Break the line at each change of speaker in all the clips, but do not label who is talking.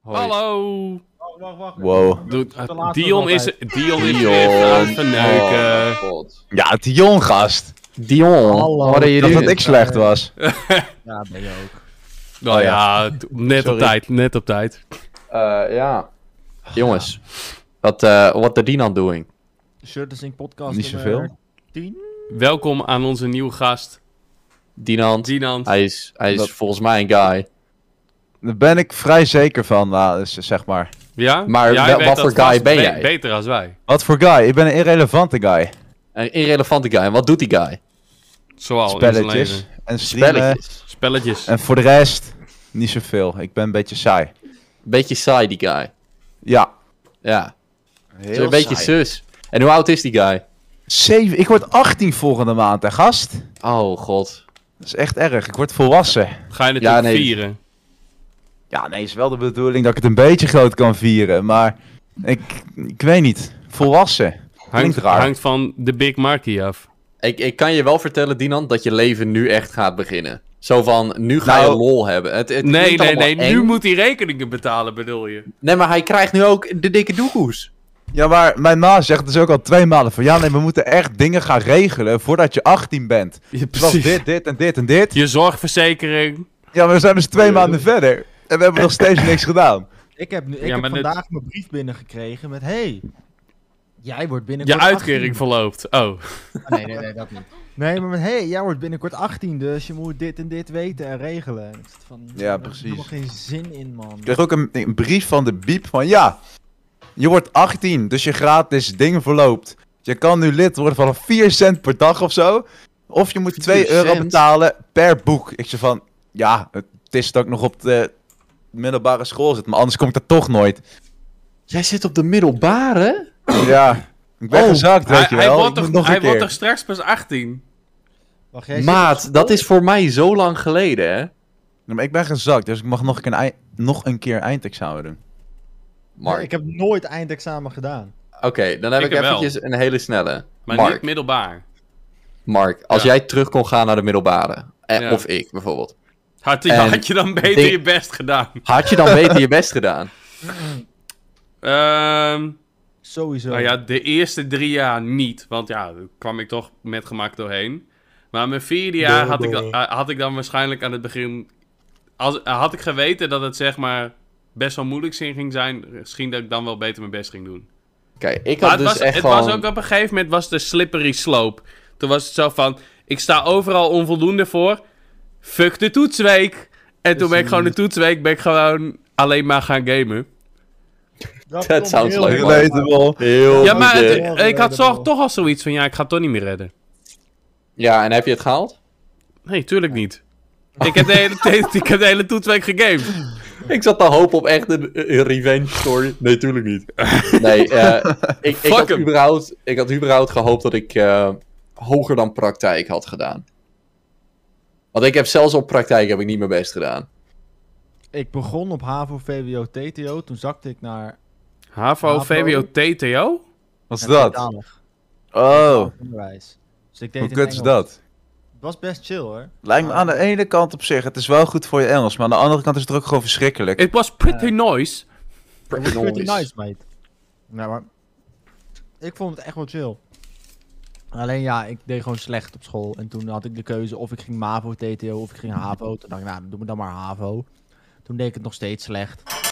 Hoi.
Hallo!
Wacht, wacht, wacht.
Wow.
Doe-
Dat is de laatste
Dion
altijd.
is, Dion is
Dion.
even aan het verneuken.
Oh, god.
Ja, Dion, gast.
Dion,
Hallo.
hadden
Dat
jullie...
dat ik slecht was.
Ja, ben je ook.
Nou ja, t- net
Oh Sorry.
op tijd, net op tijd.
Eh, ja.
Jongens, wat eh wat de Dinan doing?
Shirt is in podcast.
Niet
nummer
zoveel.
10?
Welkom aan onze nieuwe gast,
Dinan,
Dinant.
hij is, hij is
Dat-
volgens mij een guy.
Daar ben ik vrij zeker van, nou, dus zeg maar.
Ja?
Maar
Jij
wel-
weet
wat
dat
voor
vast
guy ben
be-
jij?
Beter als wij.
Wat voor guy? Ik ben een irrelevante guy.
Een irrelevante guy. En wat doet die guy?
Zoal in zijn
Spelletjes
leven.
en streamen.
Spelletjes.
Spelletjes.
Eh,
En voor de rest, niet zoveel. Ik ben een beetje saai.
Beetje saai, die guy.
Ja.
Ja, is een beetje
saai.
zus. En hoe oud is die guy?
Zeven. Ik word 18 volgende maand, hè, gast.
Oh, god.
Dat is echt erg. Ik word volwassen.
Ga je het
Ja,
ook
nee.
vieren?
Ja, nee, is wel de bedoeling dat ik het een beetje groot kan vieren. Maar ik, ik weet niet. Volwassen.
Hangt,
Klinkt raar.
hangt van de Big Markie af.
Ik, ik kan je wel vertellen, Dinan, dat je leven nu echt gaat beginnen. Zo van, nu ga
Nou-
je lol hebben. Het, het
Nee,
klinkt
nee,
allemaal
nee.
eng.
Nu moet hij rekeningen betalen, bedoel je?
Nee, maar hij krijgt nu ook de dikke doekoes.
Ja, maar mijn ma zegt dus ook al twee maanden van... Ja, nee, we moeten echt dingen gaan regelen voordat je 18 bent.
Ja,
Het was dit, dit en dit en dit.
Je zorgverzekering.
Ja, maar we zijn dus twee maanden verder. En we hebben nog steeds niks gedaan.
Ik heb, nu, ik
Ja,
heb
maar dit-
vandaag mijn brief binnengekregen met... Hey, jij wordt
Je
binnenkort
uitkering
18.
verloopt. Oh.
Ah, nee, nee, nee, dat niet. Nee, maar met, hey, jij wordt binnenkort 18, dus je moet dit en dit weten en regelen. En ik zit van,
Ja,
daar
precies. Dus-
heb Ik heb geen zin in, man.
Ik kreeg ook een, een brief van de biep van ja, je wordt 18, dus je gratis ding verloopt. Je kan nu lid worden van 4 cent per dag of zo. Of je moet 2
4
euro
cent?
betalen per boek. Ik zei van, ja, het is dat ik nog op de middelbare school zit, maar anders kom ik daar toch nooit.
Jij zit op de middelbare?
Ja, ik ben
Oh,
gezakt, weet
Hij,
je
hij
wel.
wordt
Ik moet
toch,
nog
hij
een
wordt
keer.
toch straks pas 18?
Wacht, jij dus zit op
Maat,
school?
dat is voor mij zo lang geleden, hè?
Nee, maar ik ben gezakt, dus ik mag nog een keer, een ei- nog een keer eindexamen doen.
Mark.
Ik heb nooit eindexamen gedaan.
Oké, dan heb
Ik
ik,
wel.
eventjes een hele snelle.
Maar
Mark,
niet middelbaar.
Mark, als
Ja.
jij terug kon gaan naar de middelbare, eh,
Ja.
of ik bijvoorbeeld,
Had, je-
En-
had je dan beter
Ding-
je best gedaan?
had je dan beter je best gedaan?
Ehm,
Sowieso.
nou ja, de eerste drie jaar niet. Want ja, daar kwam ik toch met gemak doorheen. Maar mijn vierde jaar had ik, dan, had ik dan waarschijnlijk aan het begin... Als, had ik geweten dat het zeg maar best wel moeilijk ging zijn... misschien dat ik dan wel beter mijn best ging doen.
Kijk, ik
Maar
had
het,
dus
was,
echt
het
gewoon...
was ook op een gegeven moment was de slippery slope. Toen was het zo van, ik sta overal onvoldoende voor. Fuck de toetsweek. En toen ben ik gewoon de toetsweek ben ik gewoon alleen maar gaan gamen.
dat
komt
sounds
heel
leuk,
erg
man.
uit.
Relatable.
Heel
ja, maar
goed,
het-
eh.
eh,
ik had zo,
redden,
toch al zoiets van, ja, ik ga het toch niet meer redden.
Ja, en heb je het gehaald?
Nee, tuurlijk niet. Ik heb de hele, te- ik heb de hele toetsweek gegamed.
Ik zat te hopen op echt een, een revenge story. Nee, tuurlijk niet. Nee, eh, ik, ik,
Fuck
had
hem.
überhaupt, ik had überhaupt gehoopt dat ik eh, hoger dan praktijk had gedaan. Want ik heb zelfs op praktijk heb ik niet mijn best gedaan.
Ik begon op HAVO, VWO, TTO. Toen zakte ik naar...
HAVO, VWO, TTO?
Wat is
naar
dat?
Tweetalig
Oh,
onderwijs. Dus ik deed
hoe
in
kut is
Engels.
dat?
Het was best chill, hoor.
Lijkt me aan de ene kant op zich, het is wel goed voor je Engels, maar aan de andere kant is het ook gewoon verschrikkelijk.
It was pretty nice.
Pretty
Pretty
nice.
nice, mate. Nou, maar... Ik vond het echt wel chill. Alleen ja, ik deed gewoon slecht op school. En toen had ik de keuze of ik ging MAVO, TTO of ik ging HAVO. Toen dacht ik, nou, dan doen we dan maar HAVO. Toen deed ik het nog steeds slecht.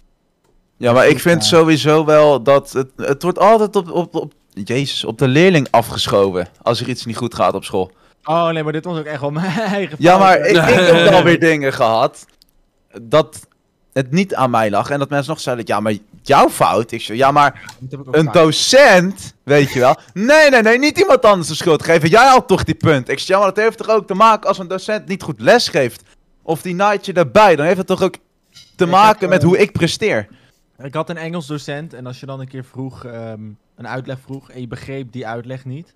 Ja, maar ik vind sowieso wel dat het, het wordt altijd op, op, op, jezus, op de leerling afgeschoven als er iets niet goed gaat op school.
Oh nee, maar dit was ook echt wel mijn eigen
Ja,
fout,
maar
hè.
ik, ik heb wel weer dingen gehad dat het niet aan mij lag en dat mensen nog zeiden, ja, maar jouw fout. Ik zei, ja, maar
Dat heb ik ook
een
vaak.
docent, weet je wel. Nee, nee, nee, niet iemand anders de schuld geven. Jij had toch die punt. Ik zei, ja, maar dat heeft toch ook te maken als een docent niet goed lesgeeft of die naait je daarbij, dan heeft dat toch ook te
heb,
maken met
eh,
hoe ik presteer.
Ik had een Engels docent en als je dan een keer vroeg, ehm, een uitleg vroeg en je begreep die uitleg niet,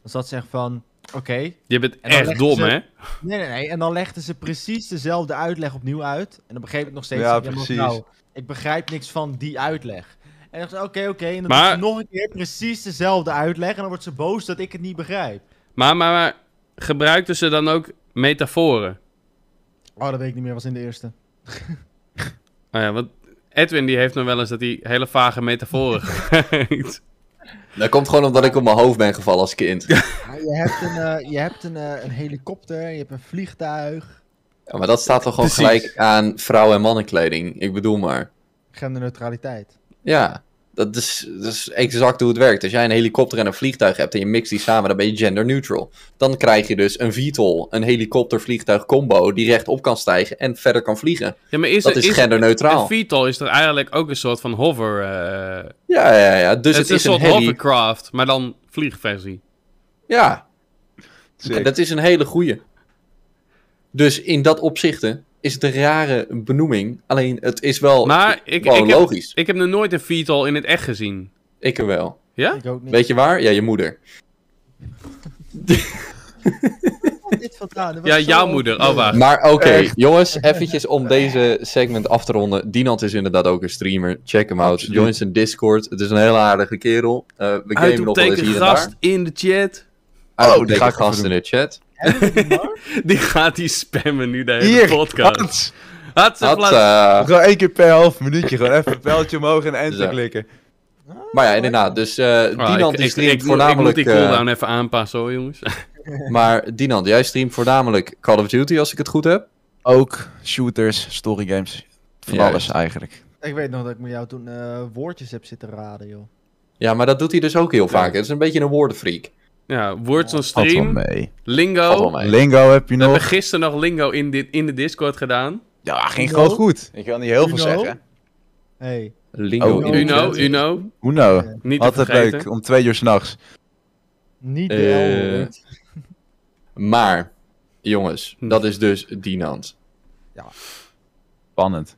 dan zat ze echt van, oké.
Je bent
En dan
echt
legden
dom,
ze-
hè?
Nee, nee, nee. En dan legde ze precies dezelfde uitleg opnieuw uit en dan begreep ik nog steeds
Ja,
niet helemaal,
precies.
nou, ik begrijp niks van die uitleg. En dan dacht ze, oké, oké. En dan
Maar-
doet ze nog een keer precies dezelfde uitleg en dan wordt ze boos dat ik het niet begrijp.
Maar, maar, maar gebruikten ze dan ook metaforen?
Oh, dat weet ik niet meer, was in de eerste.
Nou ja, want Edwin die heeft nog wel eens dat hij hele vage metaforen gebruikt.
Dat komt gewoon omdat ik op mijn hoofd ben gevallen als kind.
Ja, je hebt, een, eh, je hebt een, eh, een helikopter, je hebt een vliegtuig.
Ja, maar dat staat toch gewoon
Precies.
gelijk aan vrouw- en mannenkleding. Ik bedoel maar.
Genderneutraliteit.
Ja, dat is, dat is exact hoe het werkt. Als jij een helikopter en een vliegtuig hebt en je mixt die samen, dan ben je gender neutral. Dan krijg je dus een VTOL, een helikopter-vliegtuig combo die rechtop kan stijgen en verder kan vliegen.
Ja, maar is,
Dat
Dus er-
is genderneutraal.
Een VTOL is er eigenlijk ook een soort van hover. eh,
Ja, ja, ja. Dus
het, is een soort
heli.
hovercraft, maar dan vliegversie.
Ja,
Sick.
dat is een hele goeie. Dus in dat opzichte is het een rare benoeming. Alleen het is wel,
Maar ik,
wel
ik, heb,
Oh, logisch.
ik heb nog nooit een VTOL in het echt gezien.
Ik er wel.
Ja?
Ik ook niet.
Weet je waar? Ja, je moeder.
Waar dit vandaan? Dit was
Ja,
zo
jouw moeder. Oh,
ongelooflijk.
wacht.
Maar oké,
Echt.
jongens, eventjes om deze segment af te ronden. Dinant is inderdaad ook een streamer. Check hem out.
Absoluut.
Join zijn Discord. Het is een hele aardige kerel. Eh we gamen nog wel eens
Uitroepteken
hier en
gast Oh,
daar.
in de chat.
Uitroepteken
die ga ik
gast
even
in de chat.
Die gaat die spammen nu de hele
Hier,
podcast.
Hans.
Had ze
Dat,
plat-
eh,
Gewoon één keer per half minuutje. Gewoon even een pijltje omhoog en enter
Zo.
klikken.
maar ja, inderdaad. Dus eh
Ah,
Dinant
ik,
die
ik, ik,
streamt
moet- ik moet
voornamelijk...
die
eh,
cooldown even aanpassen hoor, jongens.
maar Dinant, jij streamt voornamelijk Call of Duty als ik het goed heb.
Ook shooters, story games. Van
Juist.
alles eigenlijk.
Ik weet nog dat ik met jou toen eh, woordjes heb zitten raden, joh.
Ja, maar dat doet hij dus ook heel vaak. Het is een beetje een woordenfreak.
Ja, Words on
Valt wel
Stream,
mee.
Valt wel
Lingo.
mee.
Lingo heb je
We hebben
nog.
gisteren nog Lingo in, dit, in de Discord gedaan.
Ja, ging
Uno.
gewoon goed. Ik wil niet heel veel
Uno.
zeggen.
Hey.
Lingo
Oh,
in de
Uno,
chat.
Uno.
Uno.
eh,
Niet te
Altijd
vergeten.
leuk, om twee uur s'nachts.
Niet de
Eh,
L-woord.
Maar, jongens,
Hm.
dat is dus Dinant.
Spannend.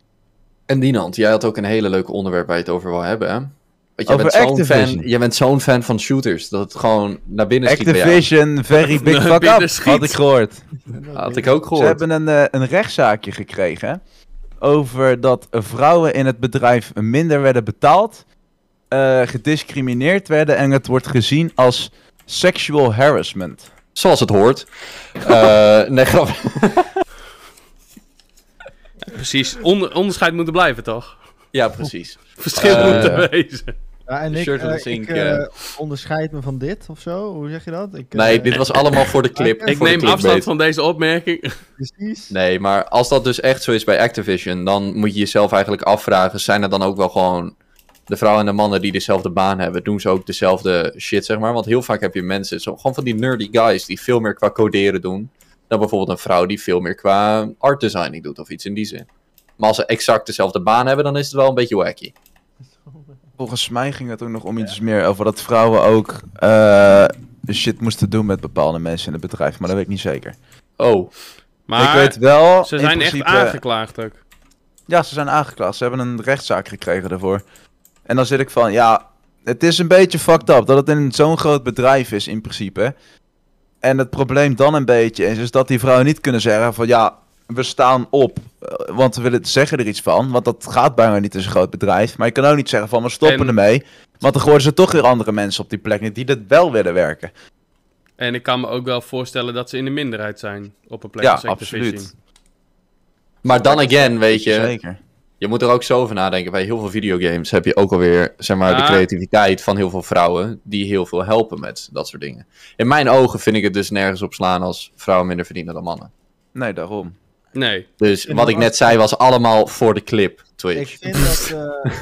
En Dinant, jij had ook een hele leuke onderwerp waar je het over wil hebben, hè? Want jij
Over
bent zo'n fan,
Activision.
jij bent zo'n fan van shooters, dat het gewoon naar
Dus
binnen schiet bij jou.
Activision, very big
Naar
fuck
binnen
up,
schiet.
had ik gehoord.
Had ik ook
Ze
gehoord.
hebben een, eh, een rechtszaakje gekregen hè, over dat eh, vrouwen in het bedrijf minder werden betaald, eh, gediscrimineerd werden en het wordt gezien als sexual harassment.
Zoals het hoort. Eh, nee, grap.
Precies. Onder- onderscheid moeten blijven, toch?
Ja, precies.
Verschil
Eh,
moet er wezen.
Ja, en
de
ik,
shirt van
eh,
de zink,
ik eh, onderscheid me van dit of zo. Hoe zeg je dat? Ik, eh,
Nee, dit was allemaal voor de clip.
Ik
Ik
voor de
neem
clipbait.
afstand van deze opmerking.
Precies.
Nee, maar als dat dus echt zo is bij Activision, dan moet je jezelf eigenlijk afvragen, zijn er dan ook wel gewoon de vrouwen en de mannen die dezelfde baan hebben, doen ze ook dezelfde shit, zeg maar? Want heel vaak heb je mensen, zo, gewoon van die nerdy guys, die veel meer qua coderen doen, dan bijvoorbeeld een vrouw die veel meer qua art designing doet of iets in die zin. Maar als ze exact dezelfde baan hebben, dan is het wel een beetje wacky.
Volgens mij ging het ook nog om iets meer over dat vrouwen ook eh, shit moesten doen met bepaalde mensen in het bedrijf, maar dat weet ik niet zeker.
Oh,
Maar
ik weet wel,
ze
in
zijn
principe,
echt aangeklaagd ook.
Ja, ze zijn aangeklaagd. Ze hebben een rechtszaak gekregen daarvoor. En dan zit ik van, ja, het is een beetje fucked up dat het in zo'n groot bedrijf is in principe. En het probleem dan een beetje is, is dat die vrouwen niet kunnen zeggen van, ja, we staan op, eh, want we willen zeggen er iets van. Want dat gaat bijna niet in zo'n groot bedrijf. Maar je kan ook niet zeggen van, we stoppen
En-
ermee. Want dan gooien ze toch weer andere mensen op die plek neer die dat wel willen werken.
En ik kan me ook wel voorstellen dat ze in de minderheid zijn op een plek
Ja,
als Activision.
absoluut.
maar dan again, weet je,
Zeker.
je moet er ook zo over nadenken. Bij heel veel videogames heb je ook alweer zeg maar, de
Ah.
creativiteit van heel veel vrouwen die heel veel helpen met dat soort dingen. In mijn ogen vind ik het dus nergens op slaan als vrouwen minder verdienen dan mannen.
Nee, daarom.
Nee.
Dus
En
wat
dan
ik net
was-
zei was allemaal voor de clip,
Ik
Twitch.
vind dat. eh,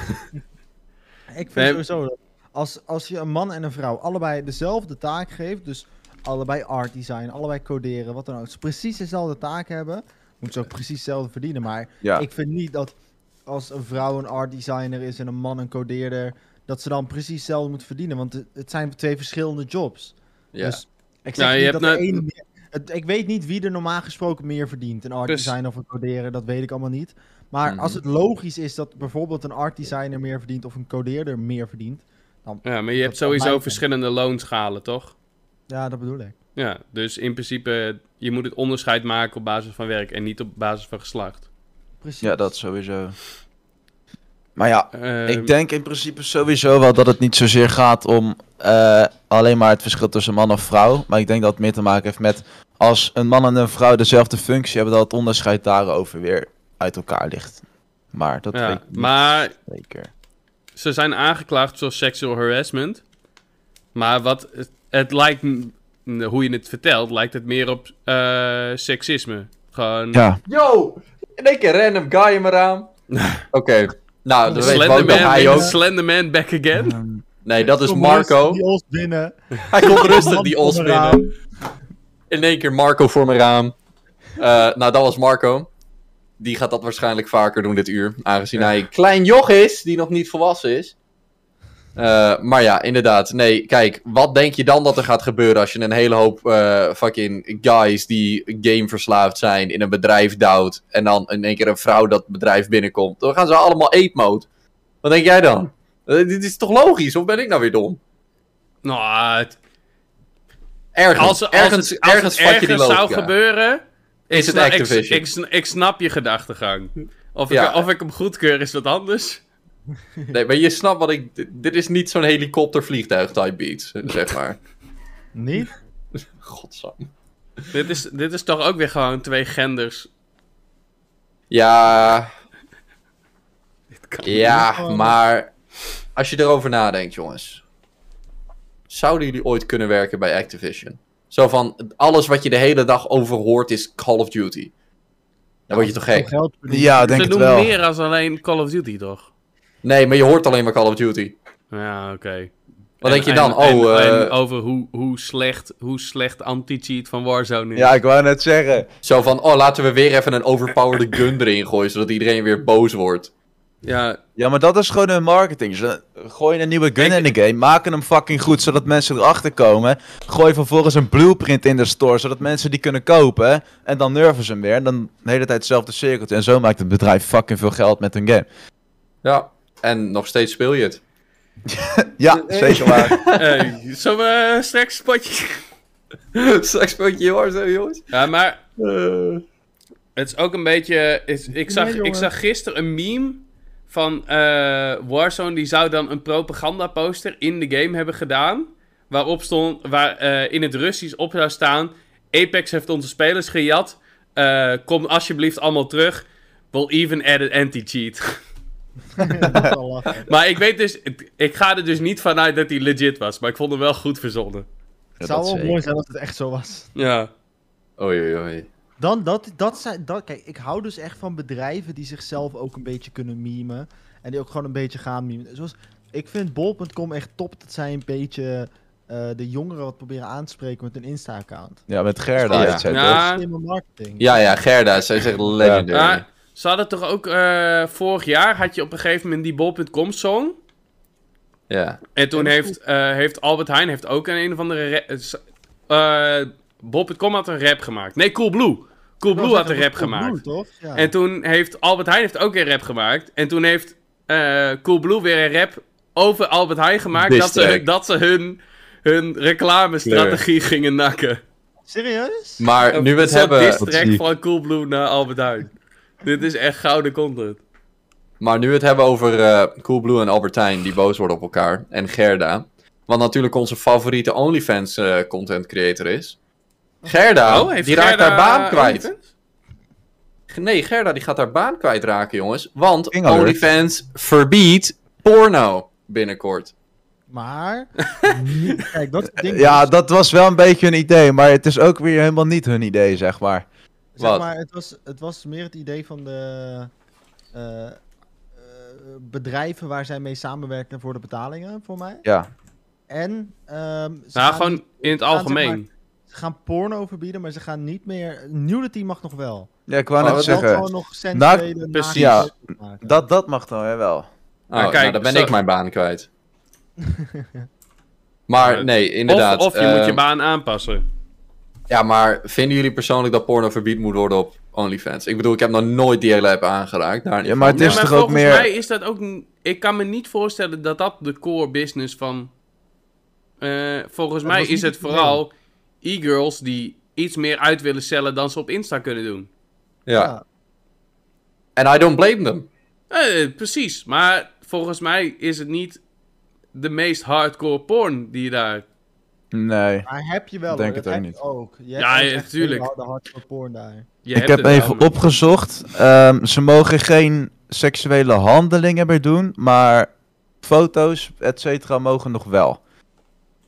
ik vind
Nee.
sowieso dat. Als, als je een man en een vrouw allebei dezelfde taak geeft, dus allebei art design, allebei coderen, wat dan ook, ze precies dezelfde taak hebben, moeten ze ook precies hetzelfde verdienen. Maar
Ja.
ik vind niet dat als een vrouw een art designer is en een man een codeerder, dat ze dan precies hetzelfde moeten verdienen. Want het- het zijn twee verschillende jobs.
Ja.
Dus ik zeg
Nou, je
niet
hebt
dat de
nou-
ene meer- het- ik weet niet wie er normaal gesproken meer verdient. Een art
Dus-
designer of een coderen, dat weet ik allemaal niet. Maar
Mhm.
als het logisch is dat bijvoorbeeld een art designer meer verdient of een codeerder meer verdient.
Ja, maar je
Dat
hebt
zou mij
sowieso
zijn.
verschillende loonschalen, toch?
Ja, dat bedoel ik.
Ja, dus in principe, je moet het onderscheid maken op basis van werk en niet op basis van geslacht.
Precies.
Ja, dat sowieso. Maar ja,
Eh,
Ik denk in principe sowieso wel dat het niet zozeer gaat om eh, alleen maar het verschil tussen man of vrouw. Maar ik denk dat het meer te maken heeft met als een man en een vrouw dezelfde functie hebben, dat het onderscheid daarover weer uit elkaar ligt. Maar dat weet
ja.
ik niet
Maar
zeker.
ze zijn aangeklaagd voor sexual harassment. Maar wat, het, het lijkt, m- hoe je het vertelt, lijkt het meer op eh, seksisme. Gewoon,
Ja,
Yo! In één keer random guy in mijn raam. Oké. Nou, dat weet ik
Slenderman,
hij ook.
Slenderman back again.
Nee, dat
dus
is Marco.
Die ons binnen.
Hij komt rustig die
ons
os binnen. In één keer Marco voor mijn raam. Eh, nou, dat was Marco. Die gaat dat waarschijnlijk vaker doen dit uur. Aangezien hij een klein joch is, die nog niet volwassen is. Eh, maar ja, inderdaad. Nee, kijk, wat denk je dan dat er gaat gebeuren als je een hele hoop eh, fucking guys die gameverslaafd zijn in een bedrijf duwt. En dan in één keer een vrouw dat bedrijf binnenkomt. Dan gaan ze allemaal ape mode. Wat denk jij dan? Eh, dit is toch logisch? Of ben ik nou weer dom?
Nou, ah, het-
Ergens,
als, als,
ergens,
het, als het
ergens, vat je die
ergens zou
logica.
gebeuren, ik
het
sna- ik-
Activision.
Ik, sna- ik snap je gedachtegang. Of,
Ja.
ik, of ik hem goedkeur is wat anders.
Nee, maar je snapt wat ik. Dit, dit is niet zo'n helikoptervliegtuig type beat, zeg maar.
Niet?
Godsam.
dit, is, dit is toch ook weer gewoon twee genders.
Ja,
Dit kan
ja, maar. Als je erover nadenkt, jongens. Zouden jullie ooit kunnen werken bij Activision? Zo van: alles wat je de hele dag over hoort is Call of Duty. Dan word je toch gek?
Geld verdienen.
ja
niet.
ik denk
Ze
het
doen
wel.
meer dan alleen Call of Duty, toch?
Nee, maar je hoort alleen maar Call of Duty.
Ja, oké. En-
Wat denk je
en-
dan?
en-
Oh, eh,
en over hoe, hoe slecht, hoe slecht anti-cheat van Warzone is.
Ja, ik wou net zeggen.
zo van: oh, laten we weer even een overpowered gun erin gooien, zodat iedereen weer boos wordt.
Ja,
Ja, maar dat is gewoon hun marketing. Ze gooien een nieuwe gun
Ik-
in de game, maken hem fucking goed, zodat mensen erachter komen. Gooi vervolgens een blueprint in de store, zodat mensen die kunnen kopen. En dan nerven ze hem weer. En dan de hele tijd hetzelfde cirkeltje. En zo maakt het bedrijf fucking veel geld met hun game.
Ja, en nog steeds speel je het.
Ja,
Eh,
zeker waar.
hey, zullen we eh, straks een spotje...
Straks speel je heel hard, hè, jongens.
Ja, maar Het is ook een beetje. Is, ik, zag, ik
jongen.
zag gisteren een meme van eh, Warzone. Die zou dan een propagandaposter in de game hebben gedaan. Waarop stond, waar eh, in het Russisch op zou staan: Apex heeft onze spelers gejat. Eh, kom alsjeblieft allemaal terug. We'll even add an anti-cheat.
Dat is wel lachen.
maar ik weet dus. ik- Ik ga er dus niet vanuit dat hij legit was. Maar ik vond hem wel goed verzonnen.
Het
dat
zou wel
zeker.
mooi zijn als het echt zo was.
Ja.
Oei, oei, oei.
Dan, dat, dat zijn, dat, kijk, ik hou dus echt van bedrijven die zichzelf ook een beetje kunnen memen. En die ook gewoon een beetje gaan memen. Zoals, ik vind bol.com echt top dat zij een beetje eh, de jongeren wat proberen aan te spreken met een Insta-account.
Ja, met Gerda.
Oh, Ja.
heet zij
Ja.
toch?
Ah.
Slimme marketing.
Ja, ja, Gerda, zij zegt legendary.
Maar ze hadden toch ook. eh, vorig jaar had je op een gegeven moment die bol.com-song.
Ja.
En toen
Ja, dat is
heeft, eh, heeft Albert Heijn heeft ook een, een of andere... ra- eh, s- eh, Bob.com had een rap gemaakt. Nee, Coolblue. Coolblue
Oh,
had een rap gemaakt.
Blue, toch? Ja.
En toen heeft Albert Heijn heeft ook een rap gemaakt. En toen heeft eh Coolblue weer een rap over Albert Heijn gemaakt.
Diss
Dat ze,
track.
dat ze hun, hun reclamestrategie gingen nakken.
Serieus?
Maar nu we het
Zo'n diss
hebben,
Wat
track
zie ik.
van Coolblue naar Albert Heijn. Dit is echt gouden content.
maar nu we het hebben over eh Coolblue en Albertijn, die boos worden op elkaar. En Gerda. Wat natuurlijk onze favoriete OnlyFans eh, content creator is. Gerda, die raakt
Oh, Gerda
haar baan kwijt.
OnlyFans?
Nee, Gerda die gaat haar baan kwijtraken, jongens. Want
King alert.
OnlyFans verbiedt porno binnenkort.
Maar, niet- kijk, dat ding
Ja, dat was wel een beetje hun idee, maar het is ook weer helemaal niet hun idee, zeg maar.
Zeg
Wat?
maar, het was, het was meer het idee van de eh, eh, bedrijven waar zij mee samenwerken voor de betalingen, voor mij.
Ja,
En ehm, ze, gaan
Nou, gewoon
niet-
in het
zeg
algemeen.
ze gaan porno verbieden, maar ze gaan niet meer... Nudity mag nog wel.
ja ik wou
Maar
net
Oh, wat
Wel
zeggen,
gewoon nog
Naakt-
sensuele naakte
precies.
Ja.
foto's maken.
dat, dat mag dan hè, wel.
Oh,
Ah, kijk,
nou, dan ben
zo-
ik mijn baan kwijt. maar
Ja,
nee,
Of,
inderdaad.
of je moet je
eh,
baan aanpassen.
Ja, maar vinden jullie persoonlijk dat porno verbied moet worden op OnlyFans? Ik bedoel, ik heb nog nooit die hele app aangeraakt. Daar niet
Ja, maar
van,
het is
maar
toch ook
volgens
meer-
mij is dat ook... n- Ik kan me niet voorstellen dat dat de core business van... Eh, volgens
Dat
mij
was
is
niet
het
het idee.
vooral e-girls die iets meer uit willen cellen dan ze op Insta kunnen doen.
Ja. En I don't blame them.
Eh, precies, maar volgens mij is het niet de meest hardcore porn die je daar...
Nee.
Maar heb je wel,
Ik
hoor,
denk
dat
het ook
heb
niet.
Je ook. Je
Ja,
hebt
ja,
echt
tuurlijk.
hele harde hardcore porn daar.
Je
ik
hebt
heb
het wel,
even
maar-
opgezocht. Ehm, ze mogen geen seksuele handelingen meer doen, maar foto's, et cetera, mogen nog wel.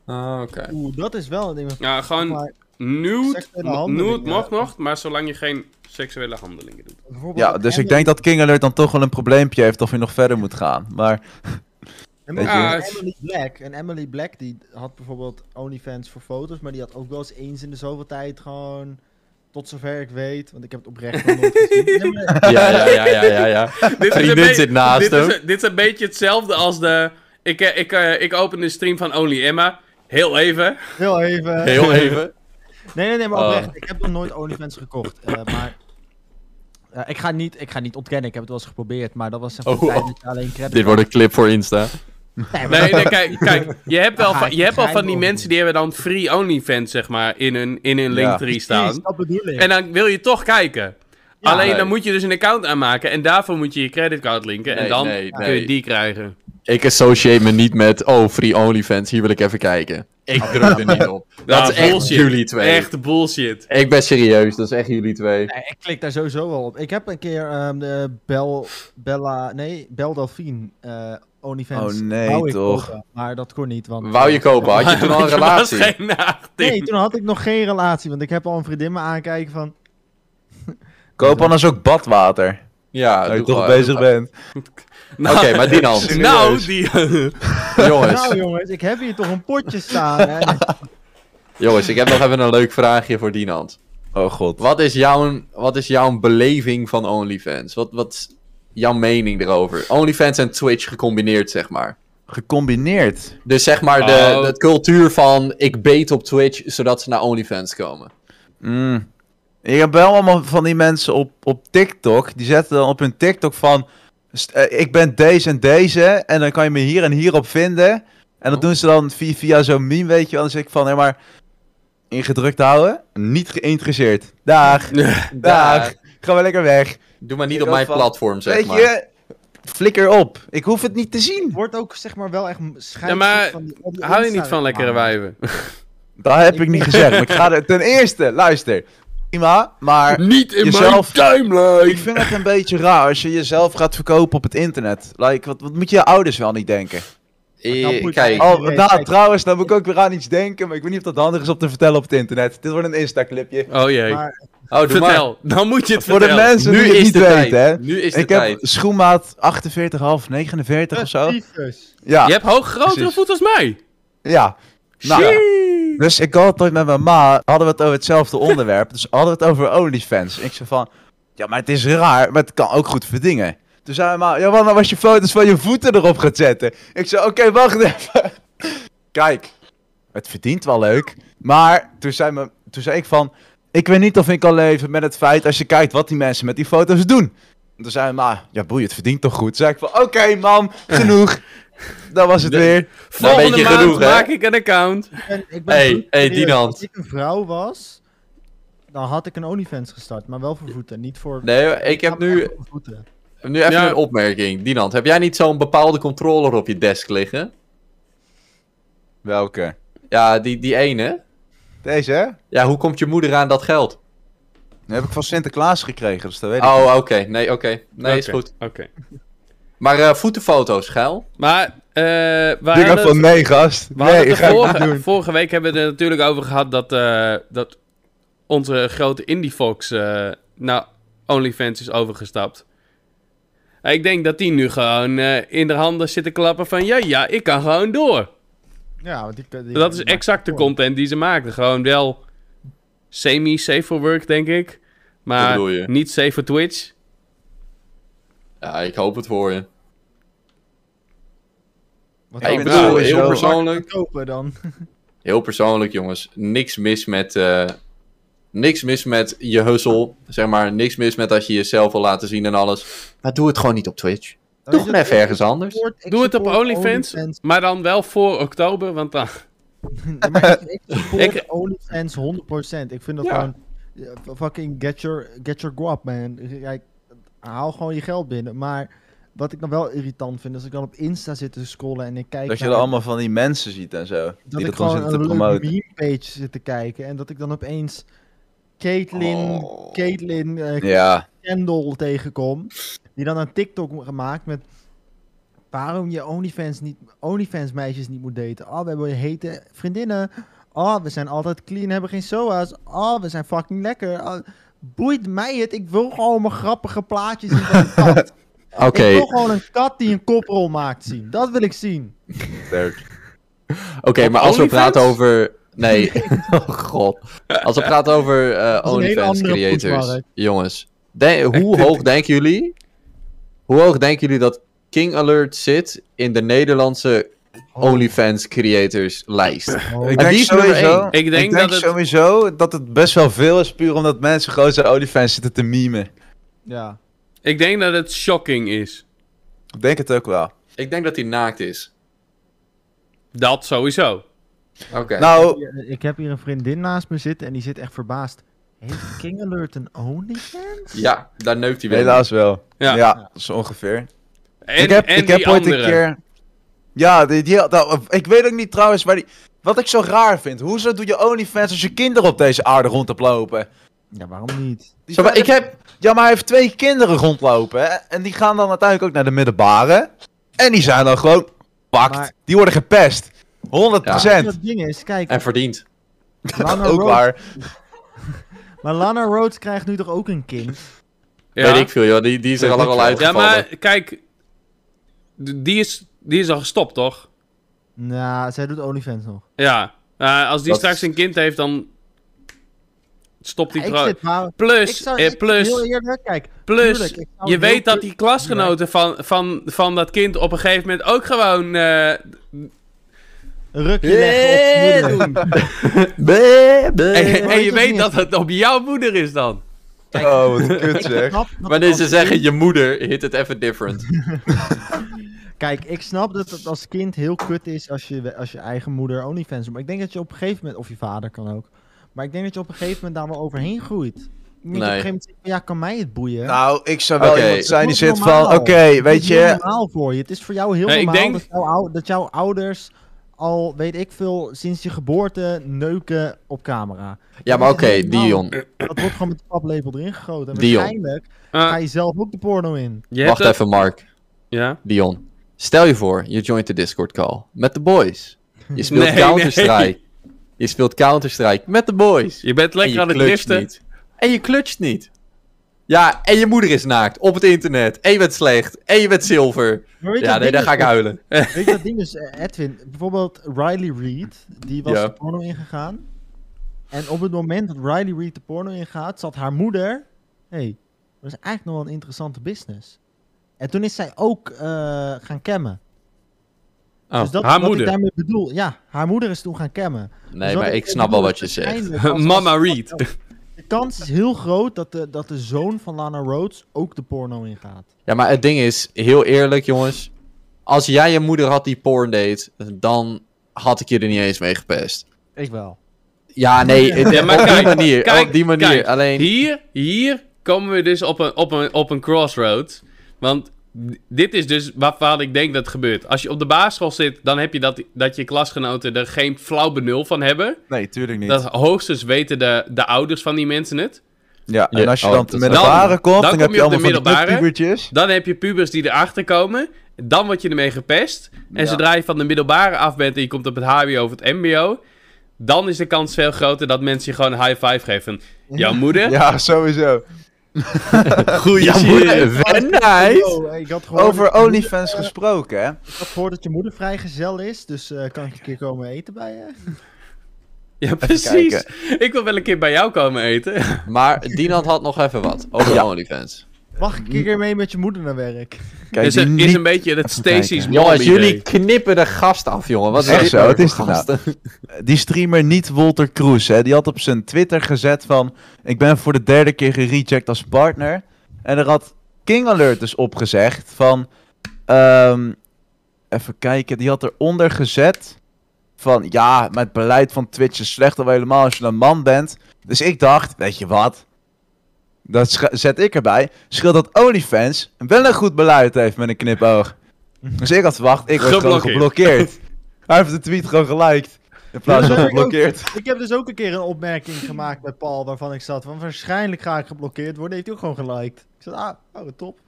Ah, oké.
Oeh, dat is wel een ding.
Ja, gewoon
Maar
nude,
seksuele
mo- nude
handelingen.
mag nog, maar zolang je geen seksuele handelingen doet.
bijvoorbeeld
Ja,
ook
dus ik
Emily-
denk dat King Alert dan toch wel een probleempje heeft of hij nog verder moet gaan. Maar
Emily,
weet je.
Ah, het-
Emily Black. En Emily Black die had bijvoorbeeld OnlyFans voor foto's, maar die had ook wel eens eens in de zoveel tijd gewoon. Tot zover ik weet, want ik heb het oprecht nog nooit gezien. Nee, maar-
Ja, ja, ja, ja, ja. ja.
dit
Vriendin
be-
zit naast
dit
hem.
Is, dit is een beetje hetzelfde als de... Ik, eh, ik, eh, ik open de stream van Only Emma. Heel even.
Heel even.
Heel even.
Nee, nee, nee, maar
Oh.
oprecht. Ik heb nog nooit OnlyFans gekocht. eh, maar eh, ik, ga niet, ik ga niet ontkennen. Ik heb het wel eens geprobeerd, maar dat was een
Oh,
tijd
oh.
dat je alleen credit...
Dit wordt een clip voor Insta.
maar-
Nee, nee, kijk, kijk je hebt, wel
Daar ga
van,
ik
je hebt al
geheim
van die
over
mensen die hebben dan free OnlyFans, zeg maar, in hun, in hun
Ja.
linktree staan.
Precies, dat bedoel ik.
En dan wil je toch kijken.
Ja.
Alleen
Nee.
dan moet je dus een account aanmaken en daarvoor moet je je creditcard linken en
Nee,
dan
nee,
kun
nee.
je die krijgen.
Ik associeer me niet met, oh, free OnlyFans, hier wil ik even kijken. Ik druk er niet op. Dat
Ja,
is echt
bullshit.
jullie twee.
Echt bullshit.
Ik ben serieus, dat is echt jullie twee.
Nee, ik klik daar sowieso wel op. Ik heb een keer ehm, de Bel, Bella... Nee, Bel Delphine eh, OnlyFans.
Oh, nee,
wou ik
toch.
kopen, maar dat kon niet, want...
Wou je kopen? Had je toen al een
Maar je was
relatie?
geen 18.
Nee, toen had ik nog geen relatie, want ik heb al een vriendin me aankijken van...
koop anders ook badwater.
Ja,
Als je
doe
toch
gewoon.
bezig bent.
Oké,
Nou,
maar Dinant,
nou, die...
jongens,
Nou jongens, ik heb hier toch een potje staan. Hè?
jongens, ik heb nog even een leuk vraagje voor Dinant.
Oh god.
Wat is jouw, wat is jouw beleving van OnlyFans? Wat, wat is jouw mening erover? OnlyFans en Twitch gecombineerd, zeg maar.
Gecombineerd.
Dus zeg maar de,
Oh.
de cultuur van ik beet op Twitch, zodat ze naar OnlyFans komen.
Mm. Ik heb wel allemaal van die mensen op, op TikTok. Die zetten dan op hun TikTok van... st- eh, ik ben deze en deze. En dan kan je me hier en hier op vinden. En
Oh.
dat doen ze dan via, via zo'n meme, weet je wel. Dan zeg ik van, hé maar... Ingedrukt houden. Niet geïnteresseerd. Daag. Daag. Ga maar lekker weg.
Doe maar niet
Ik
op
ook
mijn
van,
platform, zeg
weet
maar.
je... Flikker op. Ik hoef het niet te zien.
wordt ook zeg maar wel echt schijt.
Ja, maar Hou je niet van lekkere wijven?
Dat heb ik niet gezegd. Maar ik ga er... Ten eerste, luister. Prima, maar...
Niet in
Jezelf-
mijn
Ik
timeline!
vind het een beetje raar als je jezelf gaat verkopen op het internet. Like, wat, wat moet je ouders wel niet denken?
Eh,
Dan moet je-
kijk,
Oh,
Nee,
nou,
kijk.
trouwens, dan moet ik ook weer aan iets denken, maar ik weet niet of dat handig is om te vertellen op het internet. Dit wordt een Insta-clipje.
Oh jee.
Maar-
oh, doe maar.
Vertel, dan moet je het
Voor de
vertellen.
mensen die
Nu
het
is
niet
de tijd.
weten, hè.
Nu is de
Ik heb
tijd.
schoenmaat 48, half 49 of zo.
Tyfus.
Ja,
Je hebt hoog grotere
Precies.
voet als mij.
ja. Nou, ja. Dus ik had het ooit met mijn ma, hadden we het over hetzelfde onderwerp. Dus hadden we het over OnlyFans. Ik zei van, ja, maar het is raar, maar het kan ook goed verdingen. Toen zei mijn ma, ja, maar als je foto's van je voeten erop gaat zetten. Ik zei, oké, wacht even. Kijk, het verdient wel leuk. Maar toen zei, me, toen zei ik van, ik weet niet of ik kan leven met het feit als je kijkt wat die mensen met die foto's doen. En Toen zei mijn ma, ja boei, het verdient toch goed. Toen zei ik van, oké mam, genoeg. Dat was het weer.
weet
Volgende
je
maand
genoeg, hè?
maak ik een account.
Ik ben, ik ben
Hey,
goed
hey,
serieus.
Dinant.
Als ik een vrouw was, dan had ik een OnlyFans gestart, maar wel voor voeten, niet voor...
Nee, ik heb
maar
nu,
echt voor voeten.
nu even
Ja.
een opmerking. Dinant, heb jij niet zo'n bepaalde controller op je desk liggen?
Welke?
Ja, die, die ene.
Deze, hè?
Ja, hoe komt je moeder aan dat geld?
Die heb ik van Sinterklaas gekregen, dus dat weet ik
Oh, oké. Nee, oké. Nee, is
Oké,
goed.
Oké.
Maar eh, voetenfoto's, geil.
Maar, eh we
Ik
hadden
denk van
het-
nee, gast.
we hadden
Nee,
het
ga
er
ik niet
vorige,
doen.
vorige week hebben we het er natuurlijk over gehad dat, eh, dat onze grote Indie Fox eh naar OnlyFans is overgestapt. En Ik denk dat die nu gewoon eh, in de handen zitten klappen van ja, ja, ik kan gewoon door.
Ja, want die, die-
Dat is exact de content die ze maakten. Gewoon wel semi-safe for work, denk ik.
Wat
Maar
bedoel je?
niet safe for Twitch.
Ja, ik hoop het voor je.
Wat
Ja,
ik
ik
ook-
ben
bedoel,
sowieso-
nou, heel
Wat
persoonlijk.
kopen dan.
Heel persoonlijk, jongens. Niks mis met... eh, niks mis met je hustle. Zeg maar, niks mis met als je jezelf wil laten zien en alles. Maar doe het gewoon niet op Twitch. Doe gewoon even ergens anders.
Doe het op OnlyFans, maar dan wel voor oktober, want dan...
Ja, maar ik, ik support
Ik-
OnlyFans 100%. Ik vind dat
Ja.
gewoon... eh, Fucking get your, get your guap, man. Kijk, haal gewoon je geld binnen. Maar wat ik dan wel irritant vind, is dat ik dan op Insta zit te scrollen en ik kijk
Dat je
naar-
er allemaal van die mensen ziet en zo.
dat
die dat
ik
dan
gewoon
zitten te
een leuk
promoten.
meme-page zit te kijken en dat ik dan opeens Caitlyn,
Oh.
Caitlyn, eh,
Ja,
Kendall tegenkom, die dan een TikTok gemaakt met waarom je OnlyFans, niet, OnlyFans meisjes niet moet daten. Oh, we hebben hete vriendinnen. Oh, we zijn altijd clean, hebben geen SOA's. Oh, we zijn fucking lekker. Oh, boeit mij het, ik wil gewoon mijn grappige plaatjes zien van een kat.
Oké,
Ik wil gewoon een kat die een koprol maakt zien. Dat wil ik zien.
Dirk.
oké, maar als we
OnlyFans?
praten over... Nee, oh god. Als we praten over eh,
hele
OnlyFans
andere
creators.
poesmarkt.
Jongens, de- hoe hoog denken jullie... Hoe hoog denken jullie dat King Alert zit in de Nederlandse OnlyFans creators lijst?
Oh,
Ik
Maar
denk,
die is nummer
sowieso,
één.
Ik denk dat het-
sowieso dat het best wel veel is, puur omdat mensen gewoon zijn olifant zitten te mimen.
ja.
Ik denk dat het shocking is.
Ik denk het ook wel.
Ik denk dat hij naakt is.
Dat sowieso.
Oké.
Nou,
Ik heb hier een vriendin naast me zitten en die zit echt verbaasd. Heeft King Alert een OnlyFans?
Ja, daar neukt hij weer.
helaas wel.
Ja.
Ja, zo ongeveer.
En,
ik heb,
en
ik
die
heb ooit
andere.
een keer. Ja, die, die, nou, ik weet ook niet trouwens waar die. Wat ik zo raar vind. Hoezo doe je OnlyFans als je kinderen op deze aarde rond hebt lopen?
Ja, waarom niet?
Die
Zo, maar
verder-
ik heb...
Ja, maar hij heeft twee kinderen rondlopen. Hè? En die gaan dan uiteindelijk ook naar de middenbaren. En die zijn dan gewoon pakt.
Maar-
Die worden gepest. 100%.
Dat ding is, kijk,
En verdient.
Lana
ook
Rhoades-
waar.
maar Lana Rhodes krijgt nu toch ook een kind?
Ja.
Weet ik veel, joh. Die, die is er
Weet ik
allemaal
veel.
Ja,
uitgevallen.
maar kijk, d- die is, die is al gestopt, toch?
Nou, zij doet OnlyFans nog.
Ja. Eh, als die
Dat-
straks een kind heeft, dan stopt die
ik
trouw.
zit maar... Ik
Plus,
zou,
eh,
ik- heel
plus,
eerlijk, kijk.
plus,
tuurlijk, ik zou
je
heel
weet dat
pu-
die klasgenoten van, van, van dat kind op een gegeven moment ook gewoon... eh,
Een rukje leggen op moeder.
Bleh, bleh.
en, en je
het
weet
niet.
dat het op jouw moeder is dan.
Oh, wat kut
Ik
zeg.
snap dat
Wanneer
als-
ze zeggen, je moeder hit het even different.
Kijk, ik snap dat het als kind heel kut is als je, als je eigen moeder OnlyFans doet. Maar ik denk dat je op een gegeven moment, of je vader kan ook. Maar ik denk dat je op een gegeven moment daar wel overheen groeit. Je moet
Nee.
op een gegeven moment zeggen, ja, kan mij het boeien?
Nou, ik zou wel
Oké.
iemand zijn die
Het
zit
wordt
van... Oké,
normaal.
weet
Het is heel
je...
normaal voor je. Het is voor jou heel
Nee, ik
normaal
denk-
dat, jouw ou- dat jouw ouders al, weet ik veel, sinds je geboorte neuken op camera.
Ja, maar
Dat
oké,
is heel normaal.
Dion.
Dat wordt gewoon met de paplepel erin gegoten. En
Dion.
waarschijnlijk
Eh,
ga je zelf ook de porno in.
je hebt
Wacht
dat-
even, Mark.
Ja?
Dion. Stel je voor, je joint de Discord call. Met de boys. Je speelt
Nee,
Counter-Strike. Je speelt Counter-Strike met de boys.
Je bent
En
lekker
je
aan het
clutcht
driften.
niet. En je clutcht niet. Ja, en je moeder is naakt. Op het internet. En je bent slecht. En je bent zilver.
Maar weet je
Ja,
wat
nee, dan
ding
ga ik
is?
huilen.
Weet je dat ding is, eh, Edwin? Bijvoorbeeld Riley Reed, die was
Ja.
de porno ingegaan. En op het moment dat Riley Reed de porno ingaat, zat haar moeder... Hé, hey, dat is eigenlijk nog wel een interessante business. En toen is zij ook eh, gaan cammen.
Oh,
dus dat
haar
is wat
moeder.
ik daarmee bedoel. Ja, haar moeder is toen gaan cammen. Dus
Nee, maar ik snap wel wat je zegt.
Mama
Oh.
Reed.
De kans is heel groot dat de, dat de zoon van Lana Rhodes ook de porno ingaat.
Ja, maar het ding is, heel eerlijk jongens. Als jij je moeder had die porn deed, dan had ik je er niet eens mee gepest.
Ik wel.
Ja, nee, het-
Ja, maar
eh, op die
kijk,
manier.
kijk,
op die manier.
kijk,
Alleen,
Hier, hier komen we dus op een, op een, op een crossroad. Want dit is dus wat, wat ik denk dat gebeurt. Als je op de basisschool zit, dan heb je dat, dat je klasgenoten er geen flauw benul van hebben.
Nee, tuurlijk niet.
Dat hoogstens weten de, de ouders van die mensen het.
Ja, en
Ja,
als je
oh,
dan
dat
te
is-
middelbare
Dan-
komt,
dan
dan,
kom
heb
je
je
op de
allemaal van die
middelbare.
kutpubertjes.
Dan heb je pubers die erachter komen. Dan word je ermee gepest. En
Ja.
zodra je van de middelbare af bent en je komt op het HBO of het MBO. Dan is de kans veel groter dat mensen je gewoon een high five geven. Jouw moeder.
Ja, sowieso.
goeie ja, moeder, wenheid.
Yo, ik had gehoord
Over
dat je moeder-
OnlyFans gesproken, hè?
Ik had gehoord dat je moeder vrijgezel is, dus eh, kan ik een keer komen eten bij je?
Ja, precies. Ik wil wel een keer bij jou komen eten.
Maar Dinant had nog even wat over
Ja.
OnlyFans.
Mag ik een keer mee met je moeder naar werk?
Kijk,
is, Dus
die
er, is
niet-
een beetje het Stacy's
kijken.
Mom
Jongens,
idee.
jullie knippen de gast af, jongen. Wat is
Echt
dit
zo,
nou
wat
voor
is dit nou?
gasten?
die streamer niet Walter Kroes, hè, die had op zijn Twitter gezet van... Ik ben voor de derde keer gereject als partner. En er had King Alert dus opgezegd van... ehm, even kijken, die had eronder gezet van... Ja, maar het beleid van Twitch is slecht, al helemaal als je een man bent. Dus ik dacht, weet je wat... Dat scha- zet ik erbij. Scheelt dat OnlyFans wel een goed beleid heeft met een knipoog. Dus ik had verwacht, ik word gewoon
Geblokkeerd.
geblokkeerd. Hij heeft de tweet gewoon geliked. In
Nou,
plaats van
Ja, ik ook.
geblokkeerd.
Ik heb dus ook een keer een opmerking gemaakt bij Paul waarvan ik zat. Want waarschijnlijk ga ik geblokkeerd worden. Heeft hij ook gewoon geliked. Ik zat, ah, oh, top.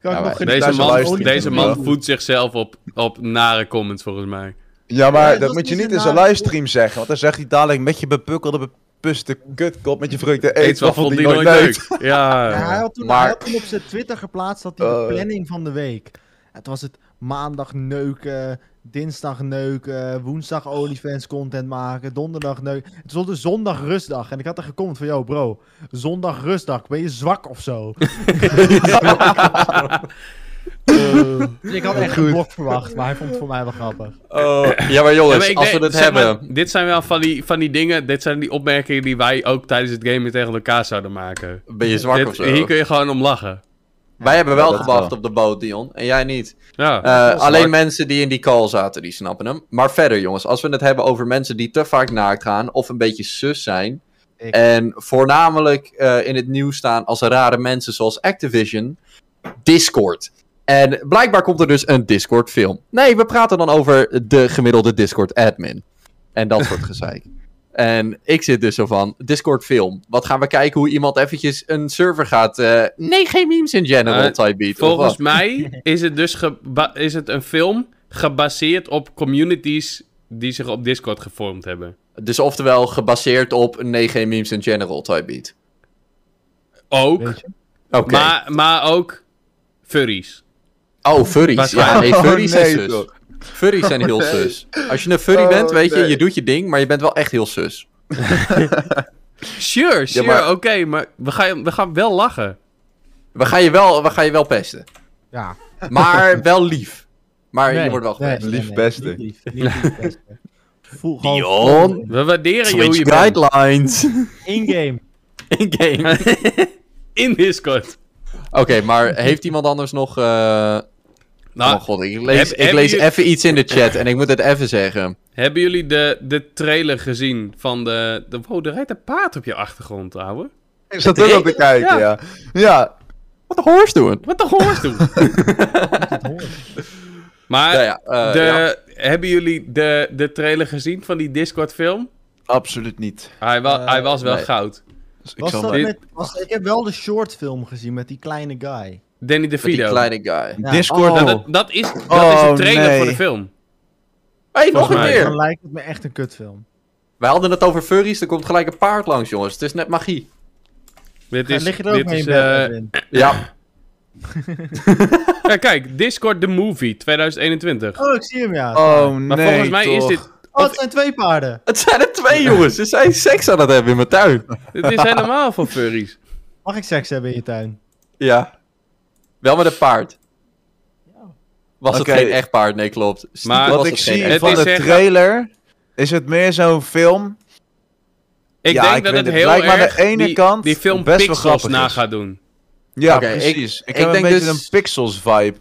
Kan
Ja,
ik nog
maar
Daar
Deze
is een
man,
luisteraar.
deze man
Ja.
voedt zichzelf op, op nare comments, volgens mij.
Ja,
Ja,
maar
dat
dat
is
moet je
dus
niet in
een
zijn
nare
livestream zeggen. Want dan zegt hij dadelijk met je bepukkelde, bepuste kutkop, met je vreugde
Eet wat vond die nooit leuk. Ja.
Ja, hij, had toen,
Eh, Maar-
hij had toen op zijn Twitter geplaatst dat hij de
Eh.
planning van de week. Het was het maandag neuken, dinsdag neuken, woensdag OnlyFans content maken, donderdag neuken. Het stond er zondag rustdag en ik had er gecomment van, yo bro, zondag rustdag, ben je zwak of zo? Dus ik had echt een blok verwacht, maar hij vond het voor mij wel grappig.
Oh, ja, maar
Ja,
jongens,
maar ik
als we
denk-
dit
zeg maar,
hebben...
dit zijn wel van die, van die dingen, dit zijn die opmerkingen die wij ook tijdens het gamen tegen elkaar zouden maken.
Ben je zwak
Dit-
of zo?
Hier kun je gewoon om lachen.
Wij hebben wel
Ja, dat
gewacht
wel.
op de boot, Dion. En jij niet.
Ja.
Eh,
wel
alleen
smart.
mensen die in die call zaten, die snappen hem. Maar verder, jongens. Als we het hebben over mensen die te vaak naakt gaan... of een beetje sus zijn...
Ik.
en voornamelijk eh, in het nieuws staan als rare mensen zoals Activision... Discord. En blijkbaar komt er dus een Discord-film. Nee, we praten dan over de gemiddelde Discord-admin. En dat soort gezeik. En ik zit dus zo van, Discord film. Wat gaan we kijken hoe iemand eventjes een server gaat... eh, nee, geen memes in general
Eh,
type beat. of
Volgens
wat?
mij is het dus geba- is het een film gebaseerd op communities die zich op Discord gevormd hebben.
Dus oftewel gebaseerd op nee, geen memes in general type beat.
Ook,
Weet je?
Oké.
maar, maar ook furries.
Oh, furries. Ja, nee, furries
Oh, nee,
zijn zus.
toch.
Furries zijn heel
Oh, nee.
sus. Als je een furry
Oh,
bent, weet je,
nee.
je doet je ding, maar je bent wel echt heel sus.
Sure, sure,
maar-
oké, maar we gaan, we gaan wel lachen.
We gaan je wel, we gaan je wel pesten.
Ja.
Maar wel lief. Maar je
Nee,
wordt wel
nee,
gepest.
nee,
Lief
nee,
beste.
niet lief, niet lief beste. Voel gewoon
Dion.
We waarderen je hoe je
Twitch
bent.
guidelines.
in-game.
In-game.
In Discord.
Oké, maar heeft iemand anders nog... eh, oh
Nou,
mijn god, ik lees,
heb-
ik
hebben
lees
jullie-
even iets in de chat en ik moet het even zeggen.
hebben jullie de, de trailer gezien van de, de... Wow, er rijdt een paard op je achtergrond, ouwe.
Ik zat ook op te kijken, ja. Ja,
Wat de horse doen?
Wat de horst doen. maar
Ja, ja, eh,
de,
ja.
hebben jullie de, de trailer gezien van die Discord film?
absoluut niet.
Hij, wa
Eh,
hij was wel
nee.
goud.
Dus ik
Was
zal
dat
maar-
maar-
met, was, ik heb wel de shortfilm gezien met die kleine guy.
Danny
Met die
DeVito.
kleine guy.
Ja.
Discord...
Nou,
Oh.
dat, dat is, dat is
Oh,
de trailer
nee.
voor de film.
hey, nog
Volgens
een
mij.
keer!
Dan lijkt het me echt een kutfilm.
We hadden het over furries, er komt gelijk een paard langs, jongens. Het is net magie.
Dit is,
Lig je er ook
dit
mee
is,
in bed,
eh,
Edwin?
Ja.
ja, kijk, Discord The Movie 2021.
Oh, ik zie hem ja.
Oh, nee,
maar volgens mij is
toch.
dit...
Oh, het zijn twee paarden.
Het zijn er twee, jongens. Ze zijn seks aan het hebben in mijn tuin.
Dit is helemaal voor furries.
Mag ik seks hebben in je tuin?
Ja. Wel met een paard. Was
Oké.
het geen echt paard? Nee, klopt. Stiekem
Maar-
was
Wat ik
het geen
zie
echt-
Het
van
is
de
echt-
trailer... Is het meer zo'n film?
Ik
Ja,
denk
ik
dat
weet
het
het.
heel
Lijkt me aan de
erg
ene
die,
kant
die film
best wel
Pixels
grappig
na
is.
gaat doen.
Ja,
Oké, ik-
precies. Ik,
ik
heb een
denk
beetje
dus-
een Pixels-vibe.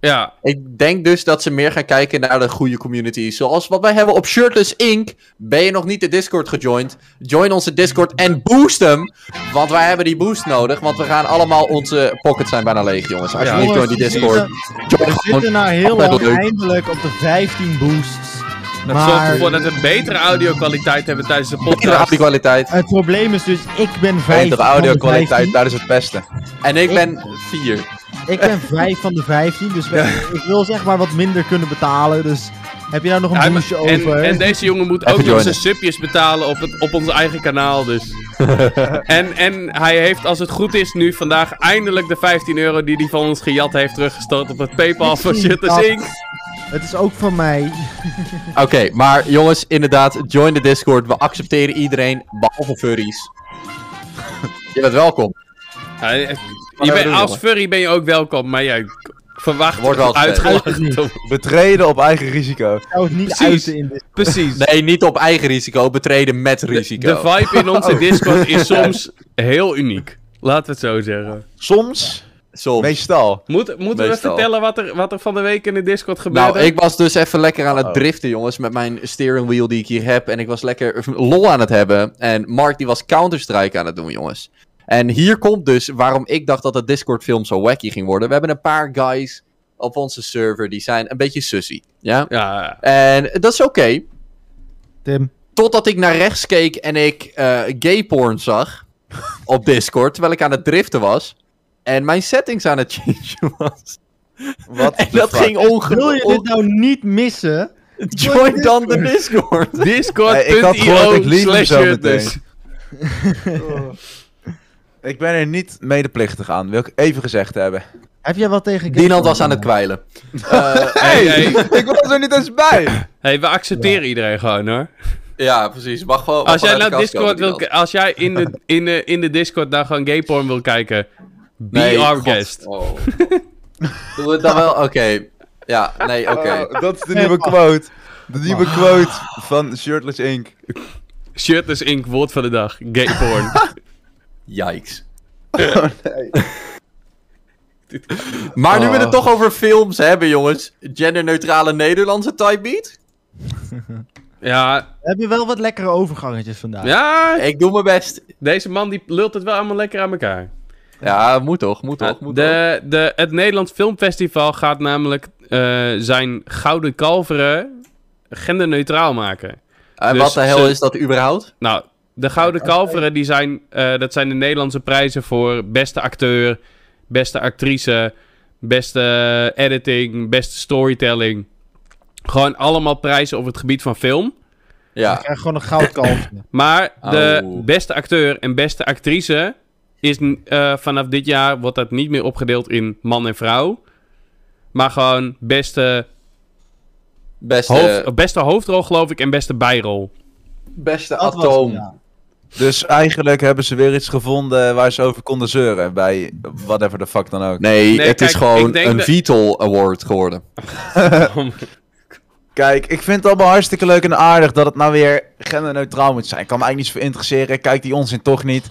Ja,
Ik denk dus dat ze meer gaan kijken naar de goede community. Zoals wat wij hebben op Shirtless Inc. Ben je nog niet de Discord gejoind? Join onze Discord en boost hem. Want wij hebben die boost nodig. Want we gaan allemaal onze pockets zijn bijna leeg, jongens. Als
Ja.
je niet joint
Jongens,
die
we
Discord.
zitten- We zitten na heel
Altijd
lang
leuk.
eindelijk op de 15 boosts.
dat zorgt
Maar
ervoor dat we betere audio-kwaliteit hebben tijdens de
Betere
podcast.
audio-kwaliteit.
het probleem is dus, ik ben 5
Betere
van de
audio-kwaliteit, daar is het beste.
En ik ben 4.
15. Ik ben 5 van de 15, dus we- ik wil zeg maar wat minder kunnen betalen. Dus heb je daar nog een
Hij-
boostje
en,
over?
en deze jongen moet
Even
ook nog
joinen.
zijn subjes betalen op, het, op ons eigen kanaal, dus. en, en hij heeft, als het goed is, nu vandaag eindelijk de 15 euro die hij van ons gejat heeft teruggestort op het PayPal van Shutter Inc.
Het is ook van mij.
Oké, maar jongens, inderdaad. Join de Discord. We accepteren iedereen. Behalve furries. Je bent welkom.
Ja, eh, je
we
bent-
doen,
als
jongen?
furry ben je ook welkom, maar jij verwacht
Wordt wel
uitgelachen. te worden.
Betreden op eigen risico.
Ik zou het niet
Precies.
uiten in dit.
Precies.
Nee, niet op eigen risico. Betreden met
De,
risico.
de vibe in
Oh.
onze Discord is soms heel uniek. Laten we het zo zeggen.
Soms,
Soms.
meestal.
Moet, moeten we
Meestal.
vertellen wat er, wat er van de week in de Discord gebeurde?
Nou, ik was dus even lekker aan het
Oh.
driften, jongens, met mijn steering wheel die ik hier heb. En ik was lekker lol aan het hebben. En Mark, die was Counter-Strike aan het doen, jongens. En hier komt dus waarom ik dacht dat de Discord-film zo wacky ging worden. We hebben een paar guys op onze server die zijn een beetje sussy. Ja?
Ja,
En dat is oké.
Tim.
Totdat ik naar rechts keek en ik eh gay porn zag op Discord, terwijl ik aan het driften was. En mijn settings aan het changen was.
Wat
En
de
dat
fuck?
ging
Wil je dit
ongelooflijk.
nou niet missen?
Join dan de Discord.
Hey, ik had gehoord,
Discord.io
ik liet hem
slash dus.
zo
Jutnes.
Ik ben er niet medeplichtig aan, wil ik even gezegd hebben.
Heb jij wat tegen
Dinant
Gameplay?
was aan het kwijlen. Eh,
Hey, hey.
ik was er niet eens bij!
hey, we accepteren iedereen gewoon hoor.
ja, precies. Mag gewoon. mag
Als jij
vanuit de
nou
kast
Discord
komen,
wil,
Dinant.
als jij in de, in de, in de Discord nou gewoon gay porn wil kijken, be
Nee,
our
god.
guest.
Oh. Doen we het dan wel? Oké. Ja, nee, oké.
Oh, dat is de nieuwe quote. De nieuwe quote van Shirtless Inc.
Shirtless Inc. woord van de dag, gay porn.
Yikes. Maar nu we
Oh.
het toch over films hebben, jongens. Genderneutrale Nederlandse type beat?
ja,
Heb je wel wat lekkere overgangetjes vandaag?
ja,
Ik doe mijn best.
deze man die lult het wel allemaal lekker aan elkaar.
Ja, moet toch, moet toch, moet toch.
de, de, het Nederlands Filmfestival gaat namelijk eh, zijn Gouden Kalveren genderneutraal maken.
En
dus
Eh, wat de hel
ze-
is dat überhaupt?
Nou, de Gouden Kalveren, die zijn, eh, dat zijn de Nederlandse prijzen voor beste acteur, beste actrice, beste eh, editing, beste storytelling. Gewoon allemaal prijzen op het gebied van film.
Ik
Ja.
krijg gewoon een goudkalfje.
Maar de
Auw.
beste acteur en beste actrice is n- eh, vanaf dit jaar wordt dat niet meer opgedeeld in man en vrouw. Maar gewoon beste,
Beste,
hoofd, beste hoofdrol, geloof ik, en beste bijrol.
beste
Dat was
atoom.
het, ja.
Dus eigenlijk hebben ze weer iets gevonden waar ze over konden zeuren. Bij whatever the fuck dan ook.
Nee,
Nee,
het
kijk,
is gewoon
ik denk
een
dat-
Vital Award geworden.
Kijk, ik vind het allemaal hartstikke leuk en aardig dat het nou weer genderneutraal moet zijn. Ik kan me eigenlijk niet voor interesseren. Ik Kijk die onzin toch niet.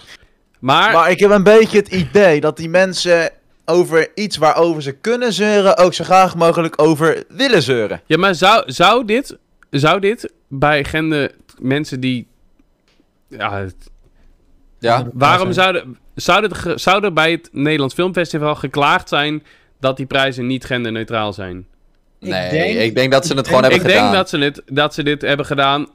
Maar,
Maar ik heb een beetje het idee dat die mensen over iets waarover ze kunnen zeuren, ook zo graag mogelijk over willen zeuren.
Ja, maar zou, zou, dit, zou dit bij gender mensen die. Ja, het-
Ja.
waarom zouden, zouden, er ge- zou er bij het Nederlands Filmfestival geklaagd zijn dat die prijzen niet genderneutraal zijn?
Ik
Nee, ik denk,
denk-
dat ze het gewoon
Ik
hebben gedaan.
denk dat ze, dit, dat ze dit hebben gedaan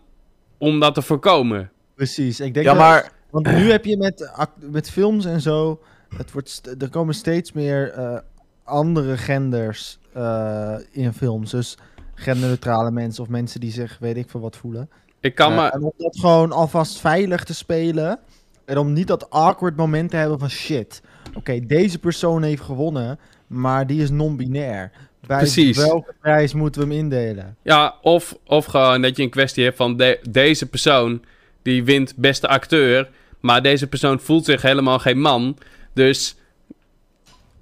om dat te voorkomen.
Precies. Ik denk
Ja,
dat-
maar
Want nu heb je met, act- met films en zo. Het wordt st- er komen steeds meer eh, andere genders eh, in films. Dus genderneutrale mensen of mensen die zich weet ik veel wat voelen.
Ik kan
Ja,
maar.
En om dat gewoon alvast veilig te spelen. En om niet dat awkward moment te hebben van shit. Oké, deze persoon heeft gewonnen, maar die is non-binair. Bij
Precies.
welke prijs moeten we hem indelen?
Ja, of, of gewoon dat je een kwestie hebt van de- deze persoon die wint beste acteur, maar deze persoon voelt zich helemaal geen man. Dus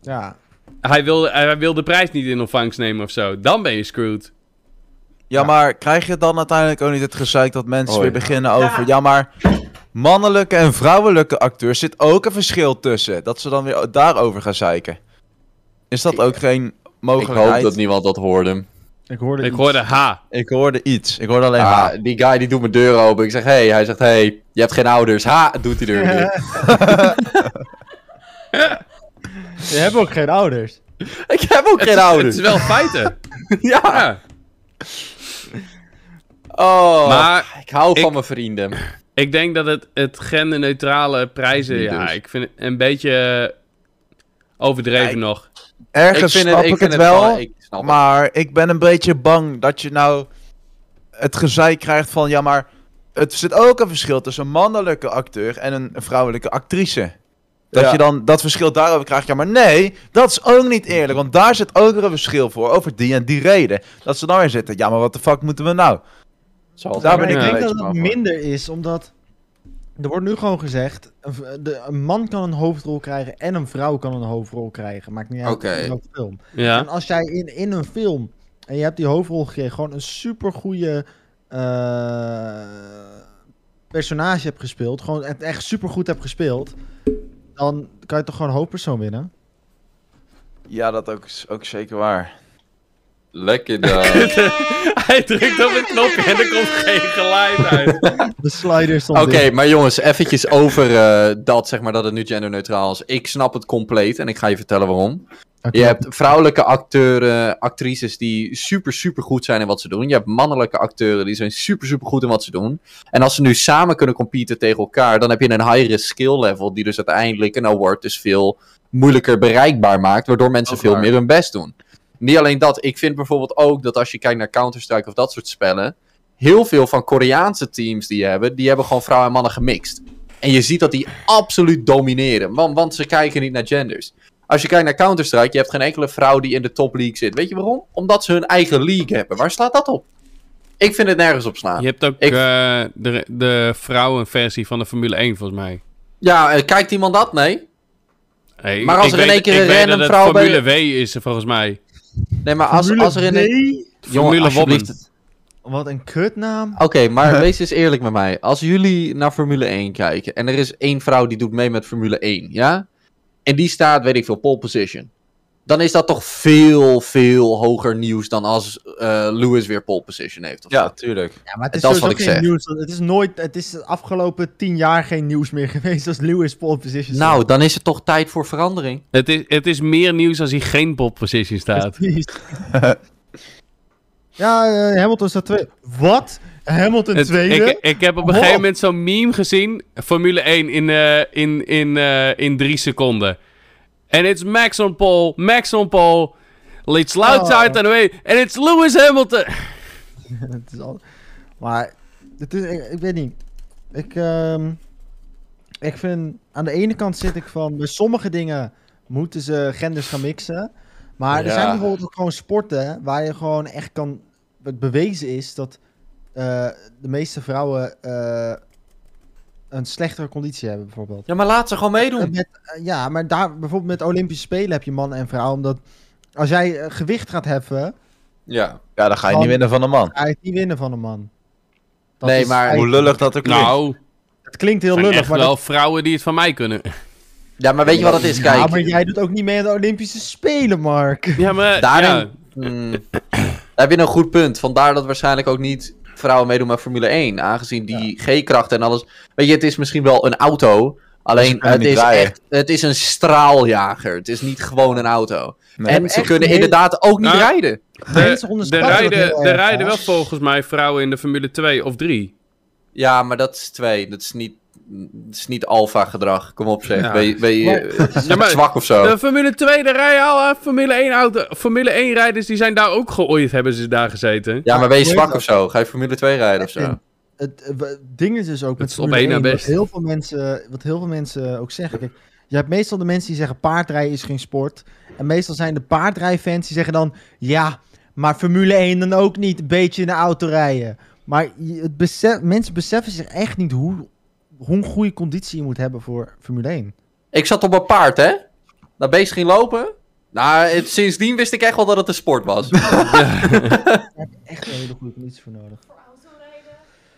Ja,
hij wil, hij wil de prijs niet in ontvangst nemen of zo. Dan ben je screwed.
Ja, maar krijg je dan uiteindelijk ook niet het gezeik dat mensen
Oh,
weer
ja.
beginnen over... Ja, maar mannelijke en vrouwelijke acteurs zit ook een verschil tussen. Dat ze dan weer o- daarover gaan zeiken. Is dat ook geen
Ik hoop
mogelijkheid?
dat niemand dat hoorde.
ik hoorde
Ik
iets.
hoorde ha.
Ik hoorde iets. Ik hoorde alleen
Ah,
maar...
die guy die doet mijn deur open. Ik zeg, hey. Hij zegt, hey, je hebt geen ouders. Ha, doet die deur dicht.
Je hebt ook geen ouders.
ik heb ook
Het
geen
is-
ouders.
Het is wel feiten.
ja.
ja.
Oh,
Maar
ik hou
ik-
van mijn vrienden.
Ik denk dat het, het genderneutrale prijzen,
Niet
ja,
dus.
ik vind het een beetje eh, overdreven
Ik-
nog.
Ergens
ik vind
snap
het,
ik
vind
het wel,
ik snap het.
maar ik ben een beetje bang dat je nou het gezeik krijgt van... Ja, maar het zit ook een verschil tussen een mannelijke acteur en een vrouwelijke actrice. Dat
Ja.
je dan dat verschil daarover krijgt. Ja, maar nee, dat is ook niet eerlijk. Want daar zit ook weer een verschil voor. Over die en die reden. Dat ze daar weer zitten. Ja, maar wat de fuck moeten we nou?
Zal het
daar
wel.
ben
ik
Maar
een
ik denk
beetje
dat het
bang voor.
minder is, omdat er wordt nu gewoon gezegd: een, v- de, een man kan een hoofdrol krijgen en een vrouw kan een hoofdrol krijgen. Maakt niet uit
Oké.
in welke film.
Ja.
En als jij in, in een film en je hebt die hoofdrol gekregen, gewoon een supergoeie eh personage hebt gespeeld, gewoon het echt supergoed hebt gespeeld, dan kan je toch gewoon hoofdpersoon winnen.
Ja, dat ook, is ook zeker waar.
Lekker dan.
Hij drukt op een knopje en er komt geen geluid uit.
De slider stond
Oké,
in.
maar jongens, eventjes over eh, dat, zeg maar, dat het nu genderneutraal is. Ik snap het compleet en ik ga je vertellen waarom. Je hebt vrouwelijke acteuren, actrices die super, super goed zijn in wat ze doen. Je hebt mannelijke acteuren die zijn super, super goed in wat ze doen. En als ze nu samen kunnen competen tegen elkaar, dan heb je een high-risk skill level, die dus uiteindelijk een award dus veel moeilijker bereikbaar maakt, waardoor mensen
Ook
veel
waar.
meer hun best doen. Niet alleen dat, ik vind bijvoorbeeld ook dat als je kijkt naar Counter-Strike of dat soort spellen, heel veel van Koreaanse teams die hebben, die hebben gewoon vrouwen en mannen gemixt. En je ziet dat die absoluut domineren, want, want ze kijken niet naar genders. Als je kijkt naar Counter-Strike, je hebt geen enkele vrouw die in de top league zit. Weet je waarom? Omdat ze hun eigen league hebben. Waar slaat dat op? Ik vind het nergens op slaan.
Je hebt ook
Ik-
eh, de, de vrouwenversie van de Formule 1, volgens mij.
Ja, eh, kijkt iemand dat? Nee.
Hey,
Maar als
ik
er in
weet-
één keer
ik
een
weet
random
dat het
vrouw bij
Formule W is er volgens mij.
Nee, maar als, als er in een...
Formule
alsjeblieft.
Wobben.
Wat een kutnaam.
Oké, maar wees eens eerlijk met mij. Als jullie naar Formule 1 kijken en er is één vrouw die doet mee met Formule 1, ja? En die staat, weet ik veel, pole position. Dan is dat toch veel, veel hoger nieuws dan als eh, Lewis weer pole position heeft. Of
Ja,
zo.
tuurlijk.
Ja, maar het
dat is
sowieso
wat ik
geen
zeg.
nieuws. Het is nooit, het is de afgelopen tien jaar geen nieuws meer geweest als Lewis pole position. staat.
Nou, dan is het toch tijd voor verandering.
Het is, het is meer nieuws als hij geen pole position staat.
Precies. ja, eh, Hamilton staat tweede. Wat? Hamilton
Het-
tweede?
ik, ik heb op een
Wow.
gegeven moment zo'n meme gezien. Formule 1 in, eh, in, in, eh, in drie seconden. En it's Max on pole, Max on pole. Let's loud
Oh.
out and away. And it's Lewis Hamilton.
Het is al... Maar, het is, ik, ik weet niet. Ik, ehm, ik vind, aan de ene kant zit ik van, bij sommige dingen moeten ze genders gaan mixen. Maar er
Ja.
zijn bijvoorbeeld ook gewoon sporten waar je gewoon echt kan, het bewezen is dat eh, de meeste vrouwen eh, een slechtere conditie hebben bijvoorbeeld.
Ja, maar laat ze gewoon meedoen.
Met, eh, ja, maar daar bijvoorbeeld met Olympische Spelen heb je man en vrouw. Omdat als jij eh, gewicht gaat heffen,
Ja.
Ja, dan ga je niet
Van-
winnen van een man.
ga je het niet winnen van een man. Dat
Nee,
is
maar-
Hoe
eigenlijk-
lullig dat ook klinkt.
Nou,
Het klinkt heel
zijn
lullig,
echt
maar,
wel
dat,
vrouwen die het van mij kunnen.
Ja, maar weet je wat het is?
Ja,
Kijk,
maar jij doet ook niet mee aan de Olympische Spelen, Mark.
Ja, maar...
Daarin
ja.
Mm. Daar heb je een goed punt. Vandaar dat waarschijnlijk ook niet vrouwen meedoen met Formule 1. Aangezien die G-krachten en alles. Weet je, het is misschien wel een auto. Alleen
kunnen
het
niet
is,
draaien.
echt, het is een straaljager. Het is niet gewoon een auto.
Nee.
en ze
Echt
kunnen
een hele-
inderdaad ook niet
Nou,
rijden.
Mensen
De, de
onderschatten dat
rijden,
heel
de
erg,
rijden
hè?
wel volgens mij vrouwen in de Formule 2 of 3.
Ja, maar dat is twee. Dat is niet, dat is niet alfa-gedrag. Kom op, zeg.
Ja.
Ben je, ben je eh,
Ja, maar-
zwak of zo?
De Formule 2, daar rijden al eh, Formule 1 auto. Formule 1 rijders die zijn daar ook geooid, hebben ze daar gezeten.
Ja, maar ben je
Hoe heet
zwak
dat?
of zo? Ga je Formule 2 rijden of zo?
Echt Het, eh, we- het ding is dus ook met
is op
Formule
één na
1, wat
best.
heel veel mensen, wat heel veel mensen ook zeggen. Kijk, je hebt meestal de mensen die zeggen paardrijden is geen sport. En meestal zijn de paardrijfans die zeggen dan ja, maar Formule 1 dan ook niet een beetje in de auto rijden. Maar je- het besef, mensen beseffen zich echt niet hoe, hoe een goede conditie je moet hebben voor Formule 1.
Ik zat op een paard, hè? Dat beest ging lopen. Nou, het- sindsdien wist ik echt wel dat het een sport was.
Daar heb je echt een hele goede conditie voor nodig.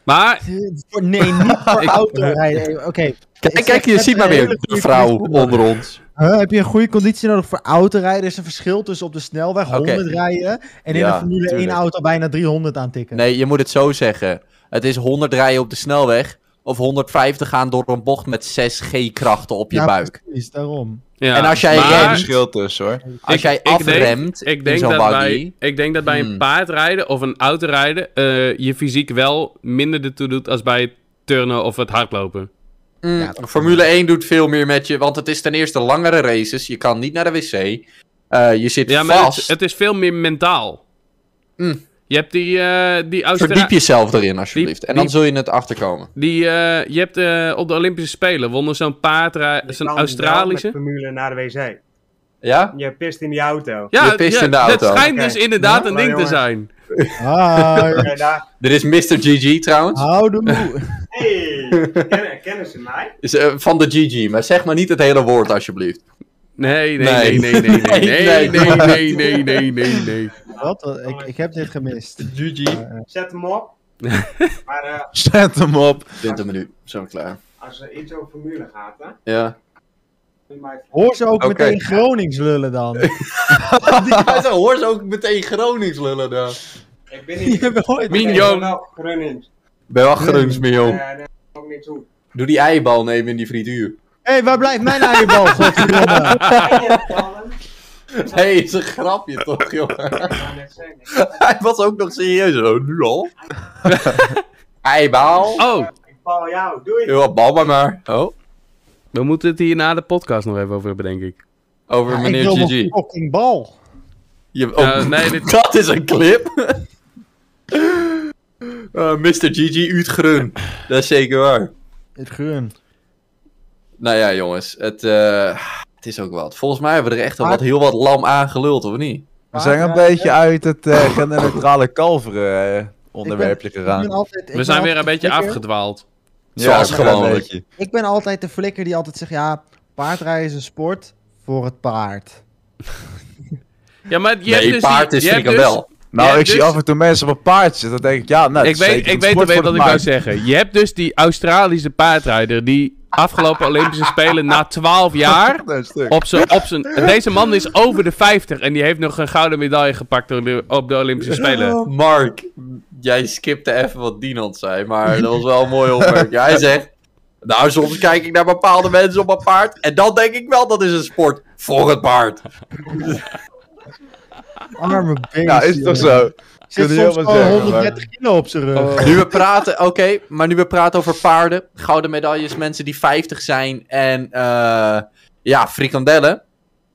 Maar
Voor- Nee, niet voor autorijden. Oké.
Kijk,
Het
kijk,
is
je
echt
ziet maar
een
weer
hele
de
goede
vrouw
conditie nodig.
onder ons.
Huh, heb je een goede conditie nodig voor autorijden? Er is een verschil tussen op de snelweg
Oké.
100 rijden en in
Ja,
een Formule 1
tuurlijk.
auto bijna 300 aantikken.
Nee, je moet het zo zeggen. Het is 100 rijden op de snelweg of 150 gaan door een bocht met 6 G-krachten op je
Ja,
buik.
Precies, daarom.
ja,
En als jij
maar
Er is een
remt-
verschil tussen hoor.
Als
ik-
jij
ik denk-
afremt
ik
in
denk,
zo'n
dat
buggy...
bij, ik denk dat bij een
Hmm.
paardrijden of een autorijden eh, je fysiek wel minder ertoe doet als bij het turnen of het hardlopen.
Mm,
Ja, dat-
Formule 1 doet veel meer met je, want het is ten eerste langere races. Je kan niet naar de wc. Eh, je zit
Ja, maar
vast.
het, het is veel meer mentaal.
Hmm.
Je hebt die, eh, die Austra-
Verdiep jezelf erin, alsjeblieft. en dan
die-
zul je het achterkomen.
Die, eh, je hebt eh, op de Olympische Spelen wonnen zo'n paardrij,
Je
zo'n
kan wel
Australische.
met formule naar de wc.
Ja?
Je pist in die auto.
Ja,
Je pist in de
dat
auto.
schijnt
Oké.
dus inderdaad een
Maar
ding te
jongen.
zijn.
Hi,
En daar-
Dit is Mr. GG
Ah.
trouwens.
houdoe.
hey, kennen, kennen ze mij?
Is, eh, van de GG, maar zeg maar niet het hele woord alsjeblieft.
Nee, nee, nee, nee, nee, nee, nee, nee,
Nee.
nee, nee, nee, nee, nee.
Wat? Wat? Ik, ik heb dit gemist.
GG.
Zet hem op. maar eh,
Zet hem op.
20 minuten, zo klaar.
als er iets over formule gaat, hè?
Ja.
doe maar even-
Hoor ze ook
Oké.
meteen Gronings lullen dan?
Zo hoor ze ook meteen Gronings lullen daar.
Ik ben
Je
niet.
hebt ooit-
Mignon.
Ik ben wel Gronings.
Ben wel Gronings,
Eh,
Mion.
daar kom ik niet toe.
Doe die eibal nemen in die frituur.
Hé, hey, waar blijft mijn eierbal, godverdomme?
Eierballen.
hey, is een grapje toch, jongen?
wou net zeggen.
Hij was ook nog serieus. Oh, nu al? Hey, baal.
Oh,
Ik val jou, doei.
Ja, bal maar maar. Oh,
we moeten het hier na de podcast nog even over hebben, denk ik.
over
Ja,
meneer
ik wil
GG.
mijn fucking bal.
Je, oh,
Eh, nee, dit-
Dat is een clip. Eh, Mr. GG Utgrun. Dat is zeker waar.
Het gun.
Nou ja, jongens. Het, eh, het is ook wat. Volgens mij hebben we er echt al
Maar-
wat, heel wat lam aangeluld, of niet?
We zijn een beetje uit het eh genderneutrale kalveren eh, onderwerpje gegaan.
We zijn weer een beetje afgedwaald.
Zoals
maar een
gewoonlijk.
beetje.
Ik ben altijd de flikker die altijd zegt, ja, paardrijden is een sport voor het paard.
Ja, maar je hebt
nee,
dus
paard
die-
is
je hebt
frikandel.
dus-
Nou,
Ja,
ik zie
dus-
af en toe mensen op een paard zitten. Dan denk ik, ja, nou,
ik weet, ik weet alweer wat ik wou zeggen. Je hebt dus die Australische paardrijder die afgelopen Olympische Spelen na 12 jaar
zeggen.
op zijn, op zijn, deze man is over de 50 en die heeft nog een gouden medaille gepakt door de- op de Olympische Spelen.
dus- Mark, jij skipte even wat Dinant zei, maar dat was wel een mooi opmerking. Hij zegt, nou soms kijk ik naar bepaalde mensen op mijn paard en dan denk ik wel dat is een sport voor het paard.
Arme beest.
Ja, is toch zo?
Zit
Kun je
soms
heel wat
gewoon
zeggen, maar- Oh.
130 kilo op zijn rug.
Nu we praten, oké, maar nu we praten over paarden, gouden medailles, mensen die 50 zijn en eh, ja, frikandellen.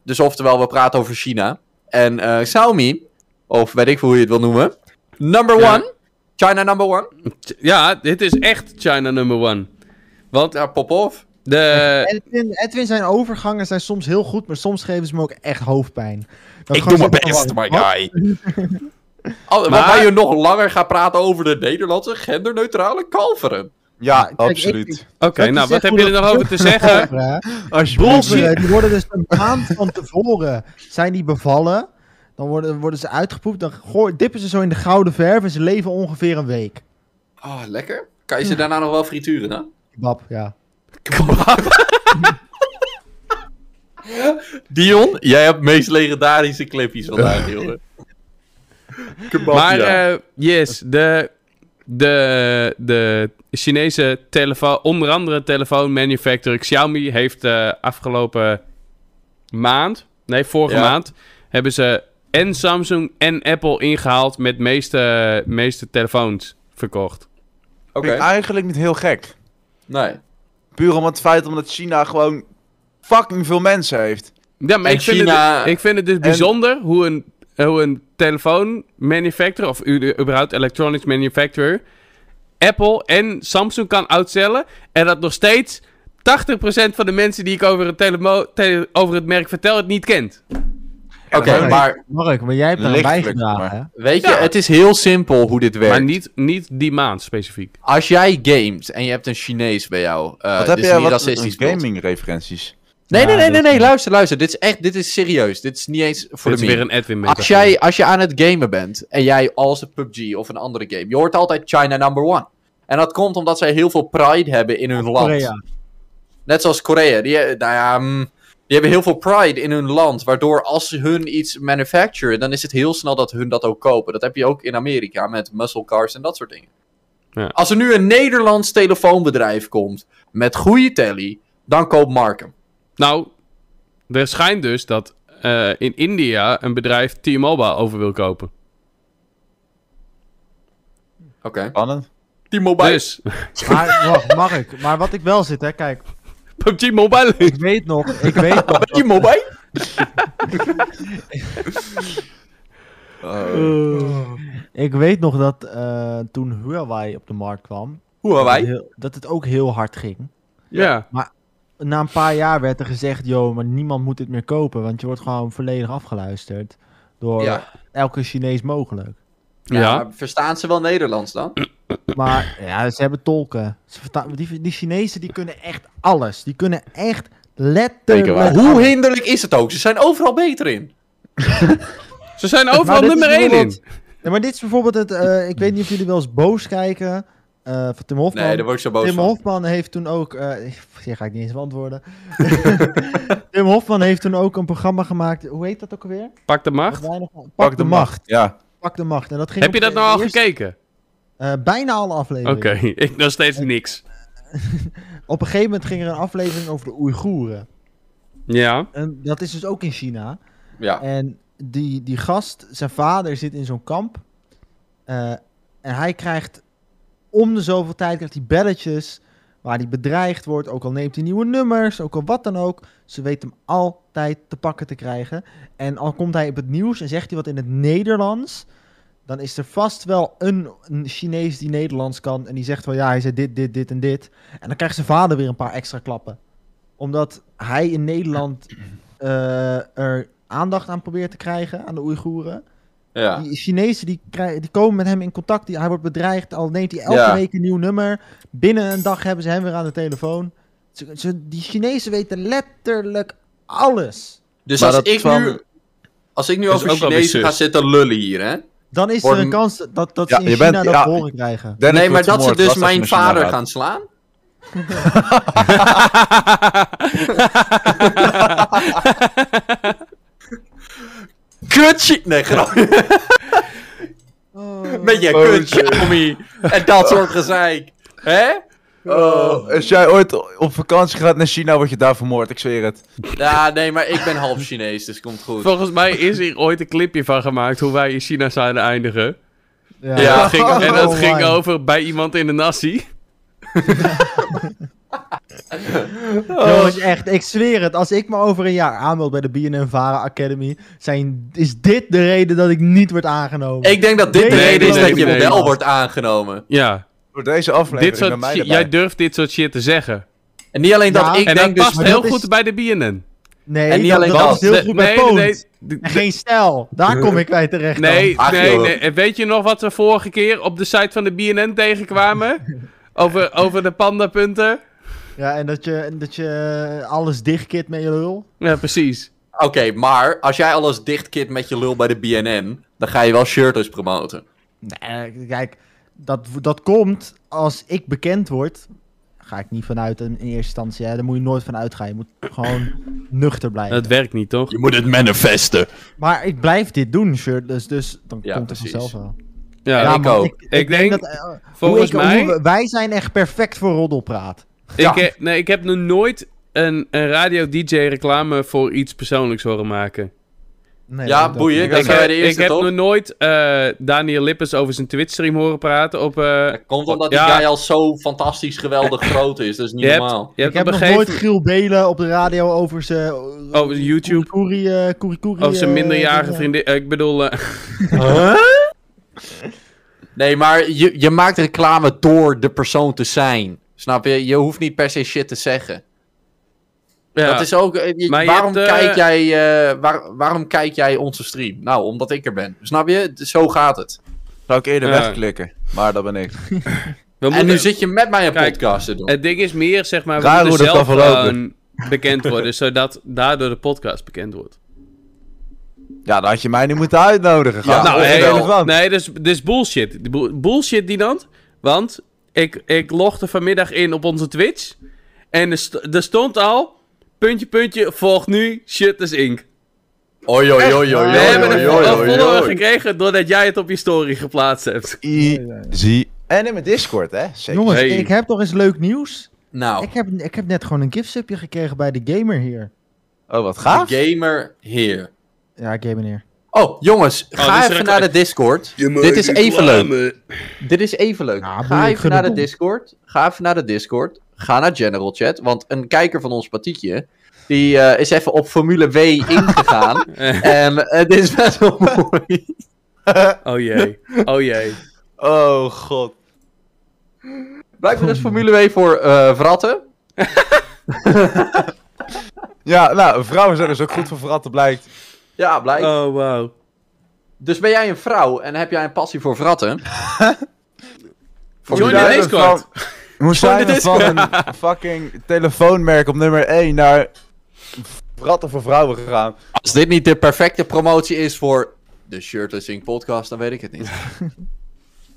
Dus oftewel, we praten over China. En eh Xiaomi, of weet ik veel hoe je het wil noemen, number
Ja.
one, China number one.
Ja, dit is echt China number one. Want
Ja, pop-off.
de,
Edwin, Edwin, zijn overgangen zijn soms heel goed, maar soms geven ze me ook echt hoofdpijn. Dan
Ik
gewoon
doe mijn
zo-
best, my guy. Al,
Maar-
Waarbij je nog langer gaat praten over de Nederlandse genderneutrale kalveren.
Ja,
kijk, ik-
absoluut.
Oké,
Dat is
nou, wat
echt
heb
hoe
je er
dat
nog over te zeggen?
Ja.
Alsjeblieft.
Kinderen, die worden dus een maand van tevoren zijn die bevallen. Dan worden, worden ze uitgepoept. Dan gooi- dippen ze zo in de gouden verf en ze leven ongeveer een week.
Oh, lekker. Kan je ze daarna nog wel frituren, hè?
Bab, ja.
Dion, jij hebt de meest legendarische clipjes vandaag, jongen. Kebab,
Maar,
ja.
eh, yes, de, de, de Chinese telefoon, onder andere telefoonmanufacturer Xiaomi, heeft eh, afgelopen maand, nee, vorige
Ja.
maand, hebben ze en Samsung en Apple ingehaald met meeste, meeste telefoons verkocht.
Oké,
Vind ik eigenlijk niet heel gek.
ah, nee.
Puur om het feit omdat China gewoon fucking veel mensen heeft.
Ja, maar
En
ik vind,
China-
het, ik vind het dus bijzonder hoe een, hoe een telefoonmanufacturer, of u- überhaupt electronics manufacturer, Apple en Samsung kan outcellen. En dat nog steeds 80% van de mensen die ik over het, telemo- tele- over het merk vertel het niet kent.
Oké,
maar-
maar
Mark, maar jij hebt daar aan
Lichtelijk,
bijgedragen. hè?
weet je,
Ja.
het is heel simpel hoe dit werkt.
Maar niet, niet die maand specifiek.
Als jij gamet en je hebt een Chinees bij jou, eh
Wat heb
dit is
jij
niet
wat
racistisch. bedoeld.
gaming referenties?
Nee, nee,
Ja,
nee, nee,
dit-
nee, luister, luister. Dit is echt, dit is serieus. Dit is niet eens voor
Dit
de
is
meme.
weer een Edwin met
Als jij, als je aan het gamen bent en jij als een PUBG of een andere game, je hoort altijd China number one. En dat komt omdat zij heel veel pride hebben in hun land.
Korea.
Net zoals Korea. Die, eh, nou ja, mm, die hebben heel veel pride in hun land. Waardoor als ze hun iets manufacturen, dan is het heel snel dat hun dat ook kopen. Dat heb je ook in Amerika met muscle cars en dat soort dingen.
Ja.
Als er nu een Nederlands telefoonbedrijf komt met goede telly, dan koopt Mark hem.
Nou, er schijnt dus dat eh, in India een bedrijf T-Mobile over wil kopen.
Oké.
Spannend.
Die mobile.
Dus,
Maar wacht, Mark, maar wat ik wel zit, hè, kijk,
PUBG Mobile.
ik weet nog, ik weet nog.
Die mobile.
Eh,
Ik weet nog dat eh, toen Huawei op de markt kwam,
Huawei.
heel- dat het ook heel hard ging.
Ja.
Na een paar jaar werd er gezegd, joh, maar niemand moet dit meer kopen, want je wordt gewoon volledig afgeluisterd door
Ja.
elke Chinees mogelijk.
Ja.
Ja, maar verstaan ze wel Nederlands dan?
Maar ja, ze hebben tolken. Ze vertaan- die, die Chinezen die kunnen echt alles. Die kunnen echt letterlijk...
Zeker waar.
Hoe hinderlijk is het ook? Ze zijn overal beter in.
Ze zijn overal
dit is
nummer 1 in.
bijvoorbeeld- Nee, maar dit is bijvoorbeeld het... eh, ik weet niet of jullie wel eens boos kijken eh, van Tim Hofman.
Nee, daar word ik zo boos
Tim
van.
Hofman heeft toen ook... eh hier ga ik niet eens beantwoorden. Tim Hofman heeft toen ook een programma gemaakt. Hoe heet dat ook alweer?
Pak de macht.
Wat wij nog- Pak, de, macht.
Ja.
Pak de macht. En dat ging
Heb je
op-
dat nou al
eerst-
gekeken?
eh, bijna alle
Oké,
afleveringen.
ik nog steeds niks.
Op een gegeven moment ging er een aflevering over de Oeigoeren.
Ja,
En dat is dus ook in China.
Ja.
En die, die gast, zijn vader zit in zo'n kamp. eh, en hij krijgt om de zoveel tijd krijgt hij belletjes waar hij bedreigd wordt. Ook al neemt hij nieuwe nummers, ook al wat dan ook. Ze weet hem altijd te pakken te krijgen. En al komt hij op het nieuws en zegt hij wat in het Nederlands. Dan is er vast wel een, een Chinees die Nederlands kan. En die zegt wel ja, hij zei dit, dit, dit en dit. En dan krijgt zijn vader weer een paar extra klappen. Omdat hij in Nederland eh, er aandacht aan probeert te krijgen aan de Oeigoeren.
Ja.
Die Chinezen die, krij- die komen met hem in contact. Die, hij wordt bedreigd. Al neemt hij elke
Ja.
week een nieuw nummer. Binnen een dag hebben ze hem weer aan de telefoon. Ze- ze- die Chinezen weten letterlijk alles.
Dus
Maar
als
dat
ik,
van-
nu, als ik nu
is
over
ook wel weer
Chinezen
zus.
ga zitten lullen hier, hè?
Dan is
Worden-
er een kans dat, dat
Ja,
ze in
je
China
bent-
dat
ja.
te horen krijgen.
Dennis
nee, maar
wordt
dat ze
vermoord,
dus
was dat
mijn
misschien
vader
raad?
gaan slaan? Kutje! Nee, grap. Met je
Oh,
kutje, homie. En dat soort gezeik. Hè?
Oh, als jij ooit op vakantie gaat naar China, word je daar vermoord, ik zweer het.
Ja, nee, maar ik ben half Chinees, dus komt goed.
Volgens mij is hier ooit een clipje van gemaakt hoe wij in China zouden eindigen.
Ja.
En dat ging, en dat
Oh,
ging
my.
over bij iemand in de nasi.
Jongens, echt, ik zweer het. Als ik me over een jaar aanmeld bij de BNN Vara Academy, zijn, is dit de reden dat ik niet word aangenomen.
Ik denk dat dit de
Nee,
reden is
nee,
dat
nee,
je
nee.
wel wordt aangenomen.
Ja,
Door deze
dit
aflevering
soort
naar mij
shi-
erbij.
jij durft dit soort shit te zeggen.
En niet alleen dat,
Ja.
ik
en dat
denk dus...
past
maar
heel
dat
goed
is-
bij de BNN.
nee,
en niet
dat,
alleen
dat
dat.
is heel
De-
goed bij
nee,
Poont.
nee, de-
En geen stijl. Daar kom ik bij terecht dan.
Nee,
Ach,
nee,
joh.
nee. En weet je nog wat we vorige keer op de site van de BNN tegenkwamen? over, over de pandapunten?
Ja, en dat je, en dat je alles dichtkit met je lul.
Ja, precies.
Oké, maar als jij alles dichtkit met je lul bij de BNN, dan ga je wel shirters promoten.
Nee, kijk, dat, dat komt als ik bekend word. Ga ik niet vanuit in in eerste instantie. Hè. Daar moet je nooit van uitgaan. Je moet gewoon nuchter blijven.
Dat werkt niet, toch?
Je moet het manifesten.
Maar ik blijf dit doen, shirt. Dus, dus dan
Ja,
komt het
precies.
vanzelf wel.
Ja,
Ja, ik
man,
ook.
Ik denk-
eh, hoe
volgens
ik-
mij-
hoe we- wij zijn echt perfect voor roddelpraat.
Ik, heb, nee, ik heb nog nooit een, een radio-dj-reclame voor iets persoonlijks horen maken.
Nee,
Ja,
dat-
boeien.
Ik
Dat zijn wij
heb,
de
ik
eerste,
heb
toch?
nog nooit eh, Daniel Lippens over zijn Twitch-stream horen praten. Op, eh,
Dat komt omdat die
Ja.
guy al zo fantastisch geweldig groot is. Dat is niet
je hebt,
normaal.
je hebt
Ik heb
op een
nog
gegeven
nooit Giel Belen op de radio over zijn...
Over Oh, YouTube.
Koeri, eh, koeri, koeri,
Of zijn
eh,
minderjarige
dingen.
vriendin. eh, Ik bedoel, eh,
Nee, maar je, je maakt reclame door de persoon te zijn. Snap je? Je hoeft niet per se shit te zeggen.
ja.
Dat is ook. eh, je-
Maar je
waarom,
hebt, eh,
kijk jij, eh, waar- waarom kijk jij onze stream? Nou, omdat ik er ben. Snap je? D- Zo gaat het.
Zou ik eerder
Ja.
wegklikken, maar dat ben ik.
We
en
moeten-
nu zit je met mij een
Kijk,
podcast te doen.
Het ding is meer, zeg maar, we
Raar
moeten
hoe
zelf
dat kan verlopen.
gewoon bekend worden, zodat daardoor de podcast bekend wordt.
Ja, dan had je mij niet moeten uitnodigen.
Ja,
gast.
nou,
Of
hey,
wel.
eerlijk
nee, dus, dus bullshit. Die boel- Bullshit die dan, want ik, ik logde vanmiddag in op onze Twitch en er, st- er stond al, puntje, puntje, volg nu Shutters Inc.
Oi, oi, oi, oi,
We
oi,
hebben
oi,
een
oi,
een
oi,
follower
oi.
gekregen doordat jij het op je story geplaatst hebt.
Easy. En in mijn Discord, hè? Zeker.
Jongens,
Hey. Oh.
ik heb toch eens leuk nieuws.
Nou,
Ik, heb, ik heb net gewoon een giftsubje gekregen bij de gamer hier.
Oh, wat gaaf.
de gamer hier.
Ja, gamer hier.
Oh, jongens,
dit
ga
is
even
reclame.
naar de Discord. Dit is even leuk. Dit is even leuk.
Ja, boeien,
ga
ik
even
vind
naar de
het dom.
Discord. Ga even naar de Discord. Ga naar General Chat. Want een kijker van ons partietje. Die eh, is even op Formule W ingegaan. en eh, dit is best wel mooi.
Oh jee, oh jee.
Oh, god.
Blijkbaar is Formule W voor eh vratten.
Ja, nou, vrouwen zijn dus ook goed voor verratten, blijkt.
Ja, blijkbaar.
Oh wow.
Eh, Dus ben jij een vrouw en heb jij een passie voor vratten?
Join
Hoe
the
zijn we
Discord.
van- Hoe zijn we van een fucking telefoonmerk op nummer 1 naar verratten voor vrouwen gegaan?
Als dit niet de perfecte promotie is voor de Shirtless Inc. podcast, dan weet ik het niet.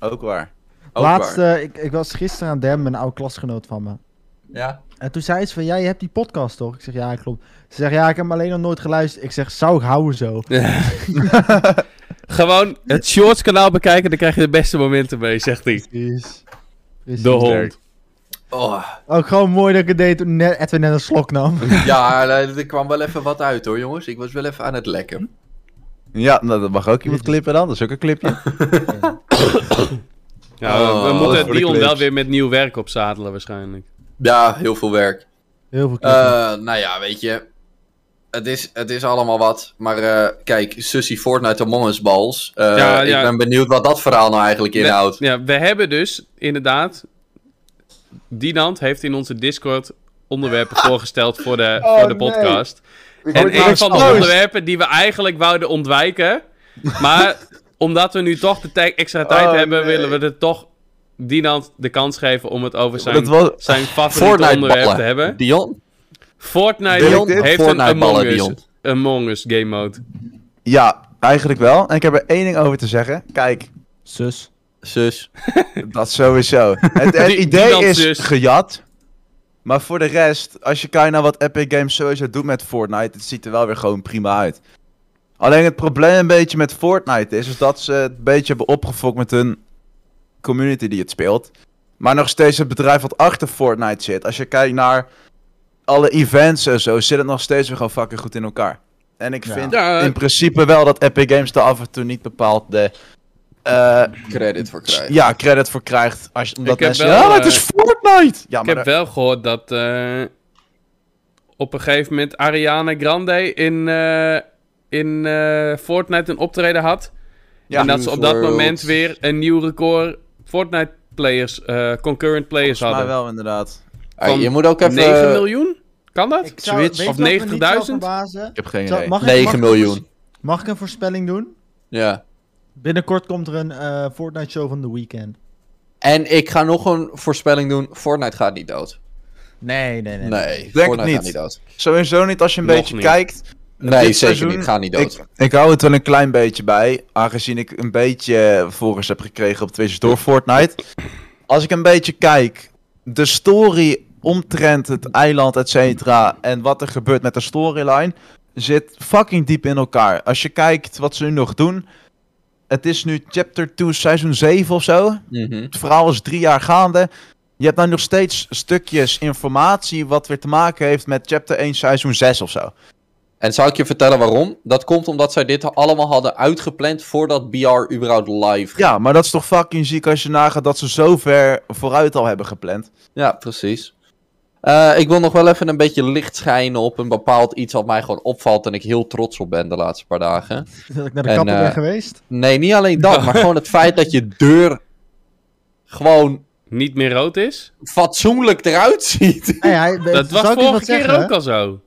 Ook waar.
Ook
Laatste,
waar.
eh, ik, ik was gisteren aan Dem, een oude klasgenoot van me.
Ja.
En toen zei ze van, ja, je hebt die podcast toch? Ik zeg, ja, klopt. Ze zegt, ja, ik heb hem alleen nog nooit geluisterd. Ik zeg, zou ik houden zo?
Gewoon het Shorts kanaal bekijken, dan krijg je de beste momenten mee, zegt hij.
Precies. Precies.
De hond.
Oh.
Ook gewoon mooi dat ik het deed toen net, Edwin net een slok nam.
Ja, eh, er kwam wel even wat uit hoor, jongens. Ik was wel even aan het lekken.
Ja, nou, dat mag ook iemand klippen dan. Dat is ook een clipje.
Ja, we- we
Oh,
moeten
voor de
Dion
clips.
wel weer met nieuw werk opzadelen waarschijnlijk.
Ja, heel veel werk.
Heel veel knippen.
Eh, nou ja, weet je. Het is, het is allemaal wat. Maar eh, kijk, Sussy Fortnite Among Us Balls. Eh,
Ja, ja.
Ik ben benieuwd wat dat verhaal nou eigenlijk inhoudt.
We, ja, we hebben dus inderdaad... Dinant heeft in onze Discord onderwerpen voorgesteld voor de,
Oh,
voor de
nee.
podcast.
word
En
nou
een van de
exposed.
onderwerpen die we eigenlijk wouden ontwijken... maar omdat we nu toch de tijd- extra tijd
Oh,
hebben...
nee.
willen we er toch Dinant de kans geven om het over zijn,
Dat was...
zijn favoriete
Fortnite
onderwerp
ballen.
te hebben.
Dion?
Fortnite
Wil ik dit?
heeft
Fortnite
een Among
ballen,
Us,
Dion.
Among Us game mode.
Ja, eigenlijk wel. En ik heb er één ding over te zeggen. Kijk,
Sus.
Zus.
dat sowieso. Het, het
Die- die
idee
dan
is
dus.
gejat. Maar voor de rest, als je kijkt naar wat Epic Games sowieso doet met Fortnite, het ziet er wel weer gewoon prima uit. Alleen het probleem een beetje met Fortnite is, is dat ze het een beetje hebben opgefokt met hun community die het speelt. Maar nog steeds het bedrijf wat achter Fortnite zit. Als je kijkt naar alle events en zo, zit het nog steeds weer gewoon fucking goed in elkaar. En ik
Ja.
vind
Ja,
in principe wel dat Epic Games er af en toe niet bepaald de eh,
Credit voor krijgen.
ja, credit voor krijgt. Als, omdat
Ik heb
mensen,
wel,
ja, maar het
eh,
is Fortnite! Ja,
Ik
maar
heb wel gehoord dat eh, op een gegeven moment Ariana Grande in, eh, in eh, Fortnite een optreden had.
Ja.
en dat ze op dat
World.
moment weer een nieuw record Fortnite players, eh, concurrent players
volgens mij
hadden.
wel inderdaad.
Hey,
van
je moet ook even... eh,
9 miljoen? Kan dat?
Ik
Zoiets.
weet
Of
je wat me niet zou
90.000?
Ik
verbazen?
heb geen
Zou-
idee.
mag ik-
9
mag ik-
miljoen.
Mag ik een voorspelling doen?
Ja.
Binnenkort komt er een eh, Fortnite show van The Weeknd.
En ik ga nog een voorspelling doen. Fortnite gaat niet dood.
Nee, nee, nee.
Nee,
het
Fortnite
niet.
gaat niet dood.
Sowieso niet als je een
Nog
beetje
niet.
kijkt.
Nee,
Dit
zeker
seizoen-
niet. Gaat niet dood.
Ik, ik hou het wel een klein beetje bij. Aangezien ik een beetje volgers heb gekregen op Twitch door Fortnite. Als ik een beetje kijk. De story omtrent het eiland, et cetera. En wat er gebeurt met de storyline. Zit fucking diep in elkaar. Als je kijkt wat ze nu nog doen. Het is nu chapter 2, seizoen 7 of zo.
Mhm.
Het verhaal is drie jaar gaande. Je hebt nou nog steeds stukjes informatie wat weer te maken heeft met chapter 1, seizoen 6 of zo.
En zou ik je vertellen waarom? Dat komt omdat zij dit allemaal hadden uitgepland voordat BR überhaupt live ging.
Ja, maar dat is toch fucking ziek als je nagaat dat ze zo ver vooruit al hebben gepland.
Ja, precies. Eh, ik wil nog wel even een beetje licht schijnen op een bepaald iets wat mij gewoon opvalt en ik heel trots op ben de laatste paar dagen.
Dat ik naar de
En,
kapper ben
eh,
geweest.
Nee, niet alleen dat, maar gewoon het feit dat je deur gewoon
Niet meer rood is?
fatsoenlijk eruit ziet.
Hey, hij,
Dat was
Eh, zou ik je
vorige
wat
keer
zeggen?
ook al zo.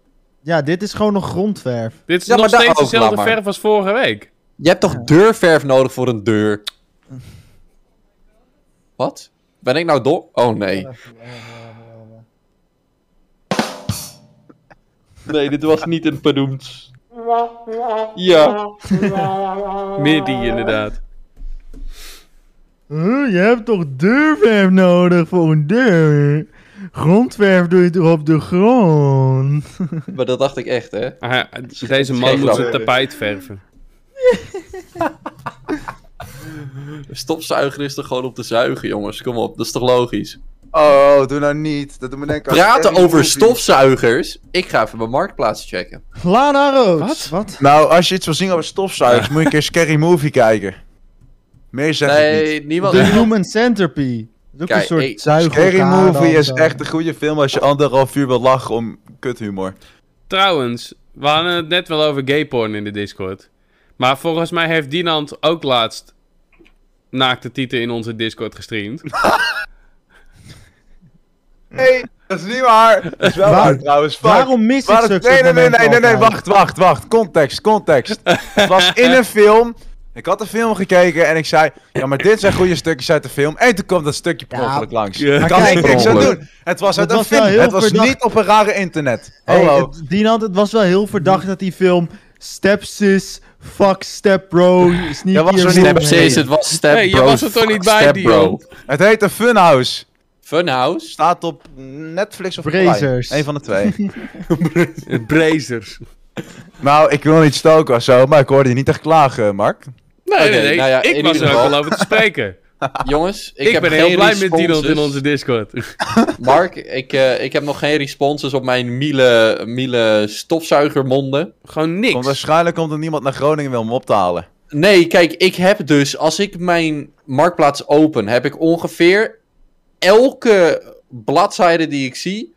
Ja, dit is gewoon nog grondverf.
Dit is
Ja,
nog
maar daar-
steeds
oh, laat
dezelfde
maar.
verf als vorige week.
Je hebt toch deurverf nodig voor een deur? Wat? Ben ik nou dom? Oh nee. Nee, dit was niet een beroemd. Ja.
Meer die inderdaad.
Huh, je hebt toch deurverf nodig voor een deur? Grondverf doe je toch op de grond?
Maar dat dacht ik echt, hè?
Ah, deze man
geen
moet
grap.
zijn tapijt verven.
Stopzuiger is toch gewoon op te zuigen, jongens? Kom op, dat is toch logisch?
Oh, doe nou niet. Dat doet me denken aan
Praten
Scary
over
Movie.
stofzuigers. Ik ga even mijn marktplaats checken.
Lana
Wat?
Roos. Wat?
Nou, als je iets wil zien over stofzuigers, moet je een keer Scary Movie kijken. Meer zeg ik niet.
Nee, niemand.
De Human Centipede. Dat is ook
Kijk,
een soort
hey,
zuiger.
Scary Movie is echt een goede film als je anderhalf uur wil lachen om kuthumor.
Trouwens, we hadden het net wel over gay porn in de Discord. Maar volgens mij heeft Dinant ook laatst naakte tieten in onze Discord gestreamd.
Nee, dat is niet waar. Dat is wel
Waar-
waar trouwens. Fuck.
Waarom mis ik
Waar-
zulke
nee, nee, nee,
momenten
nee, nee, nee,
altijd?
wacht, wacht, wacht. Context, context. Het was in een film. Ik had de film gekeken en ik zei... Ja, maar dit zijn goede stukjes uit de film. En toen kwam dat stukje per
Ja,
ongeluk langs.
ja.
Daar
Maar
kan
kijk,
ik niks aan
ongeluk.
doen. Het was uit
Dat
een
was wel
film.
heel
Het was
verdacht.
niet op een rare internet.
Hey,
Hallo.
het- Dinant, het was wel heel verdacht dat die film Stepsis, fuck stepbro, sneaky
Ja, was er
en
niet
zo-
Step
Precies, het was Step
Hey, je
Bro.
was er toch
Fuck
niet bij,
Step
Dion?
Bro.
Het heet een Funhouse.
Funhouse?
Staat op Netflix of
Brazers.
Prime. Eén van de twee.
Brazers.
nou, ik wil niet stoken of zo, maar ik hoorde je niet echt klagen, Mark.
Nee,
Oké,
nee, nee.
nou ja,
dus ik
in
was
ieder
er ook
geval.
al over te spreken.
Jongens, ik,
Ik,
heb
ben
geen
heel blij met
responses.
Dinant in onze Discord.
Mark, ik, eh, ik heb nog geen responses op mijn Miele, Miele stofzuigermonden.
Gewoon niks.
Want waarschijnlijk komt er niemand naar Groningen wil om op te halen.
Nee, kijk, ik heb dus, als ik mijn marktplaats open, heb ik ongeveer elke bladzijde die ik zie,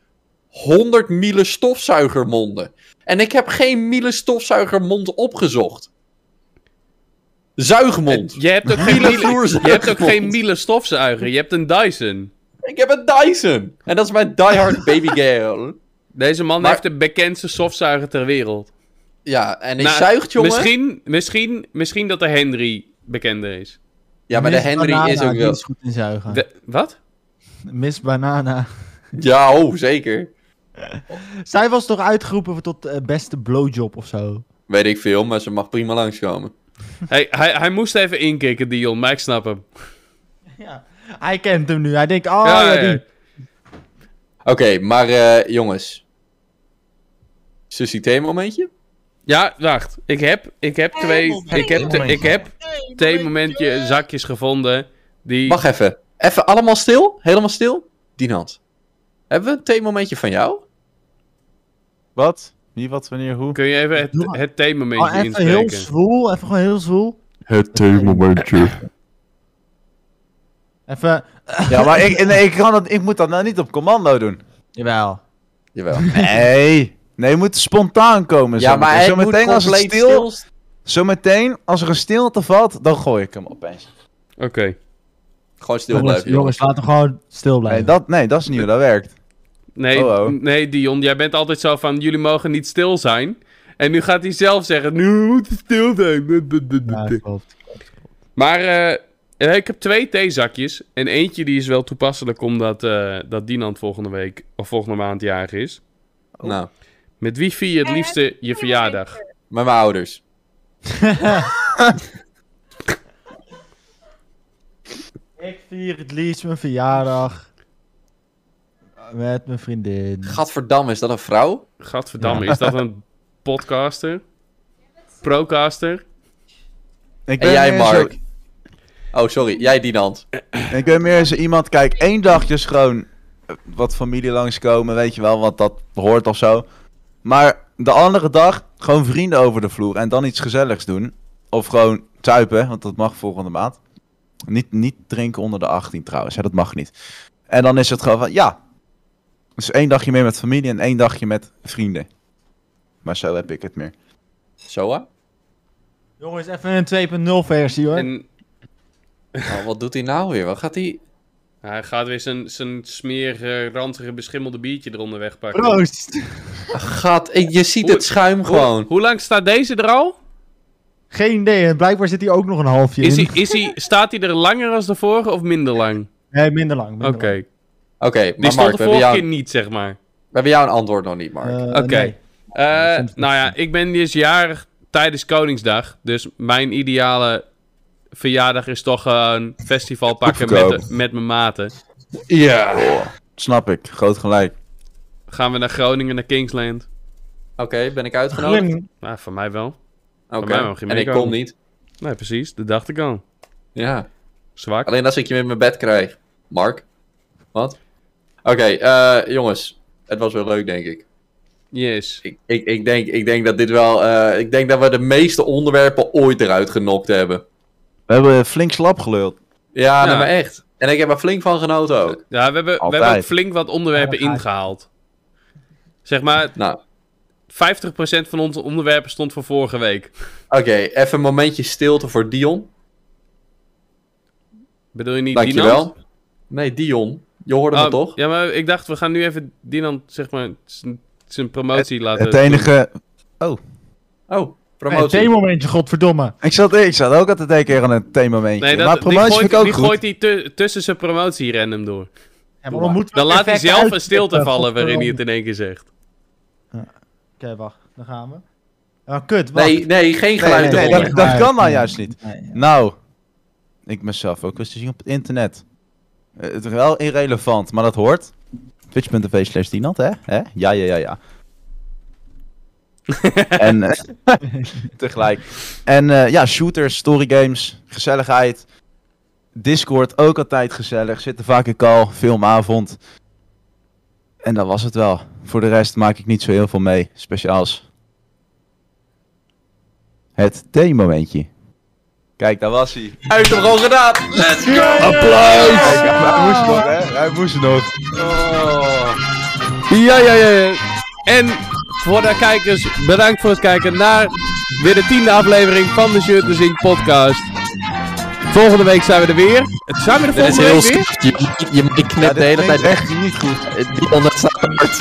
100 Miele stofzuigermonden. En ik heb geen Miele stofzuigermond opgezocht. Zuigmond.
Je hebt ook geen
Miele
Miele, je hebt ook
vloerzuigermond.
geen Miele stofzuiger. Je hebt een Dyson.
Ik heb een Dyson. En dat is mijn diehard baby girl.
Deze man
Maar-
heeft de bekendste stofzuiger ter wereld.
Ja, en hij
Nou,
zuigt, jongen.
Misschien, misschien, misschien dat de Henry bekender is.
Ja, maar de
Miss
Henry
Banana,
is ook
die
wel...
is goed in
Ah.
zuigen.
De- wat?
Miss Banana.
Ja, oh, zeker.
Zij was toch uitgeroepen tot eh, beste blowjob of zo?
Weet ik veel, maar ze mag prima langskomen.
Hij, hij, hij moest even inkikken, Dion, maar ik snap hem.
Ja. Hij kent hem nu. Hij denkt, oh ja,
Ja, ja.
die.
Oké, maar eh, jongens. Susie T momentje?
Ja, wacht. Ik heb, ik heb twee. Ik heb, te- ik heb twee momentje zakjes gevonden. Die.
Wacht even. Even allemaal stil? Helemaal stil? Dinant. Hebben we een theemomentje van jou?
Wat? Wie, wat, wanneer, hoe?
Kun je even het,
Doe maar.
het theemomentje
Oh, even heel
inspreken?
zwoel. Even gewoon heel zwoel.
Het theemomentje.
Even.
Ja, maar ik, nee, ik, kan dat, ik moet dat nou niet op commando doen.
Jawel.
Jawel.
Nee. Nee, je moet spontaan komen.
ja, maar hij
zo meteen
moet
als het
compleet
stil,
stil...
Zometeen, als er een stilte valt, dan gooi ik hem opeens.
Oké.
Gewoon stil
Jongens,
blijven, jongens.
jongens, laten we gewoon stil blijven.
Nee, dat, nee, dat is nieuw, dat werkt.
Nee,
Oh, oh.
nee, Dion, jij bent altijd zo van. Jullie mogen niet stil zijn. En nu gaat hij zelf zeggen. Nu moet het stil zijn.
Ja, klopt.
Maar eh, ik heb twee theezakjes. En eentje die is wel toepasselijk omdat eh dat Dinant volgende week of volgende maand jarig is.
Nou,
Met wie vier je het liefste je verjaardag?
met mijn ouders.
Ik vier het liefst mijn verjaardag. Met mijn vriendin.
Gadverdamme, is dat een vrouw?
Gadverdamme, is dat een podcaster? Procaster?
Ik
en jij,
meer
Mark? Oh, sorry. Jij, Dinant.
Zo, ik ben meer zo iemand, kijk, één dagje is gewoon eh, wat familie langskomen, weet je wel, want dat hoort of zo. Maar de andere dag gewoon vrienden over de vloer en dan iets gezelligs doen. Of gewoon tuipen, want dat mag volgende maand. Niet, niet drinken onder de 18 trouwens, hè, dat mag niet. En dan is het gewoon van, ja. Dus één dagje meer met familie en één dagje met vrienden. Maar zo heb ik het meer.
Zoa?
Jongens, even een 2.0 versie hoor.
En
Oh, wat doet hij nou weer? Wat gaat hij...
hij gaat weer zijn, zijn smerige, ranzige, beschimmelde biertje eronder wegpakken.
Proost!
Gat, ik- je ziet
Hoe-
het schuim
Hoe-
gewoon.
Hoe lang staat deze er al?
Geen idee, en blijkbaar zit hij ook nog een halfje
Is
in.
hij, is hij, staat hij er langer als de vorige of minder lang?
Nee, minder lang.
Oké.
minder lang.
Oké,
Die
maar
stond
Mark,
de
we hebben,
vorige
jou,
keer niet, zeg maar.
we hebben jou een antwoord nog niet, Mark.
Eh,
Oké.
nee.
Eh,
dat vind ik
nou ja,
niet.
ik ben dus jarig tijdens Koningsdag. Dus mijn ideale verjaardag is toch een festival pakken met,
Goedkoop.
de- met mijn maten.
Ja.
Oh, Snap ik, groot gelijk.
Gaan we naar Groningen, naar Kingsland?
Oké, ben ik uitgenodigd?
Glim.
Nou, van mij wel.
Oké,
mij mag je
en ik
meekomen.
kon niet.
Nee, precies. Dat dacht ik al.
Ja.
Zwak.
Alleen als ik je in mijn bed krijg. Mark? Wat? Oké, eh, jongens. Het was wel leuk, denk ik.
Yes.
Ik, ik, ik, denk, ik denk dat dit wel... eh, ik denk dat we de meeste onderwerpen ooit eruit genokt hebben.
We hebben flink slap geluld.
Ja,
Ja.
nee, maar echt. En ik heb er flink van genoten ook.
Ja, we hebben, we
Altijd.
hebben flink wat onderwerpen
Ja, dan ga ik.
ingehaald. Zeg maar, 50%
Nou,
van onze onderwerpen stond voor vorige week.
oké. even een momentje stilte voor Dion.
Bedoel je niet Dinant?
Dankjewel. Nee, Dion. Je hoorde me
Oh,
toch?
Ja, maar ik dacht, we gaan nu even Dinant, zeg maar, zijn- zijn promotie laten
Het enige...
Oh,
Een
promotie.
theemomentje, godverdomme.
Ik zat, ik zat ook altijd een keer aan een themamomentje.
doen. Nee, dat,
maar promotie
die gooit,
vind ik ook
die
goed.
gooit hij tu- tussen zijn promotie random door.
Ja, maar dan moeten we
Dan laat hij
perfect
zelf een
uitknippen,
stilte vallen waarin hij
godverdomme.
het in één keer zegt.
Oké, wacht. Dan gaan we. Ah, kut, wacht.
Nee, nee, geen
Nee,
geluid
nee, nee,
eronder.
dat, dat kan nou juist niet.
Nee, ja.
Nou, ik mezelf ook eens te zien op het internet. Eh, Het is wel irrelevant, maar dat hoort. Twitch.tv slash Dinant, hè? hè? Ja, ja, ja, ja. en eh, tegelijk. En eh, ja, shooters, storygames, gezelligheid. Discord ook altijd gezellig. Zitten vaak in kal, filmavond. En dat was het wel. Voor de rest maak ik niet zo heel veel mee. Speciaals. Het theemomentje. Kijk, daar was hij.
Hij heeft hem gewoon gedaan! Let's go!
Applaus! hij moest nog, hè? Hij moest nog.
Oh. Ja, ja, ja, ja. En voor de kijkers, bedankt voor het kijken naar weer de tiende aflevering van de Shirt to Zink podcast. Volgende week zijn we er weer. Zijn we er
Dit is
volgende
heel
week weer?
slecht. Je, je, je knipt de hele tijd weg. Eh,
echt niet goed.
Die onderstaat apart.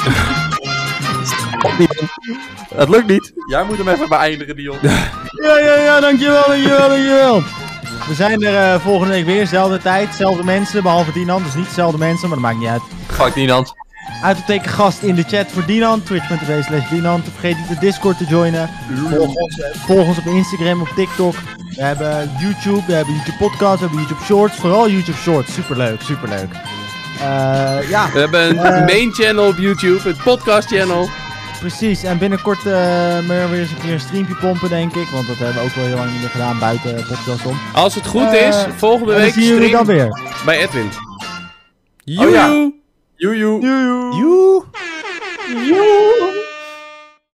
Het lukt niet. Jij moet hem even beëindigen, Dion.
Ja, ja, ja, dankjewel, dankjewel, dankjewel. We zijn er eh, volgende week weer, zelfde tijd, zelfde mensen, behalve Dinan. Dus niet dezelfde mensen, maar dat maakt niet uit.
Fuck Dinant.
Uitopteken gast in de chat voor Dinan, twitch.tv slash Dinan. Vergeet niet de Discord te joinen. Volg ons, eh, volg ons op Instagram, op TikTok. We hebben YouTube, we hebben YouTube podcast, we hebben YouTube Shorts. Vooral YouTube Shorts, superleuk, superleuk. Eh ja,
We hebben een
Eh.
main channel op YouTube, het podcast channel.
precies. En binnenkort eh, meer weer eens een keer een streampje pompen, denk ik. Want dat hebben we ook wel heel lang niet meer gedaan, buiten podcast om.
Als het goed
Eh,
is, volgende
En dan
week
zien jullie dan
stream
weer.
bij Edwin.
ja.
Oh Joejoe.
Joejoe.
Joe.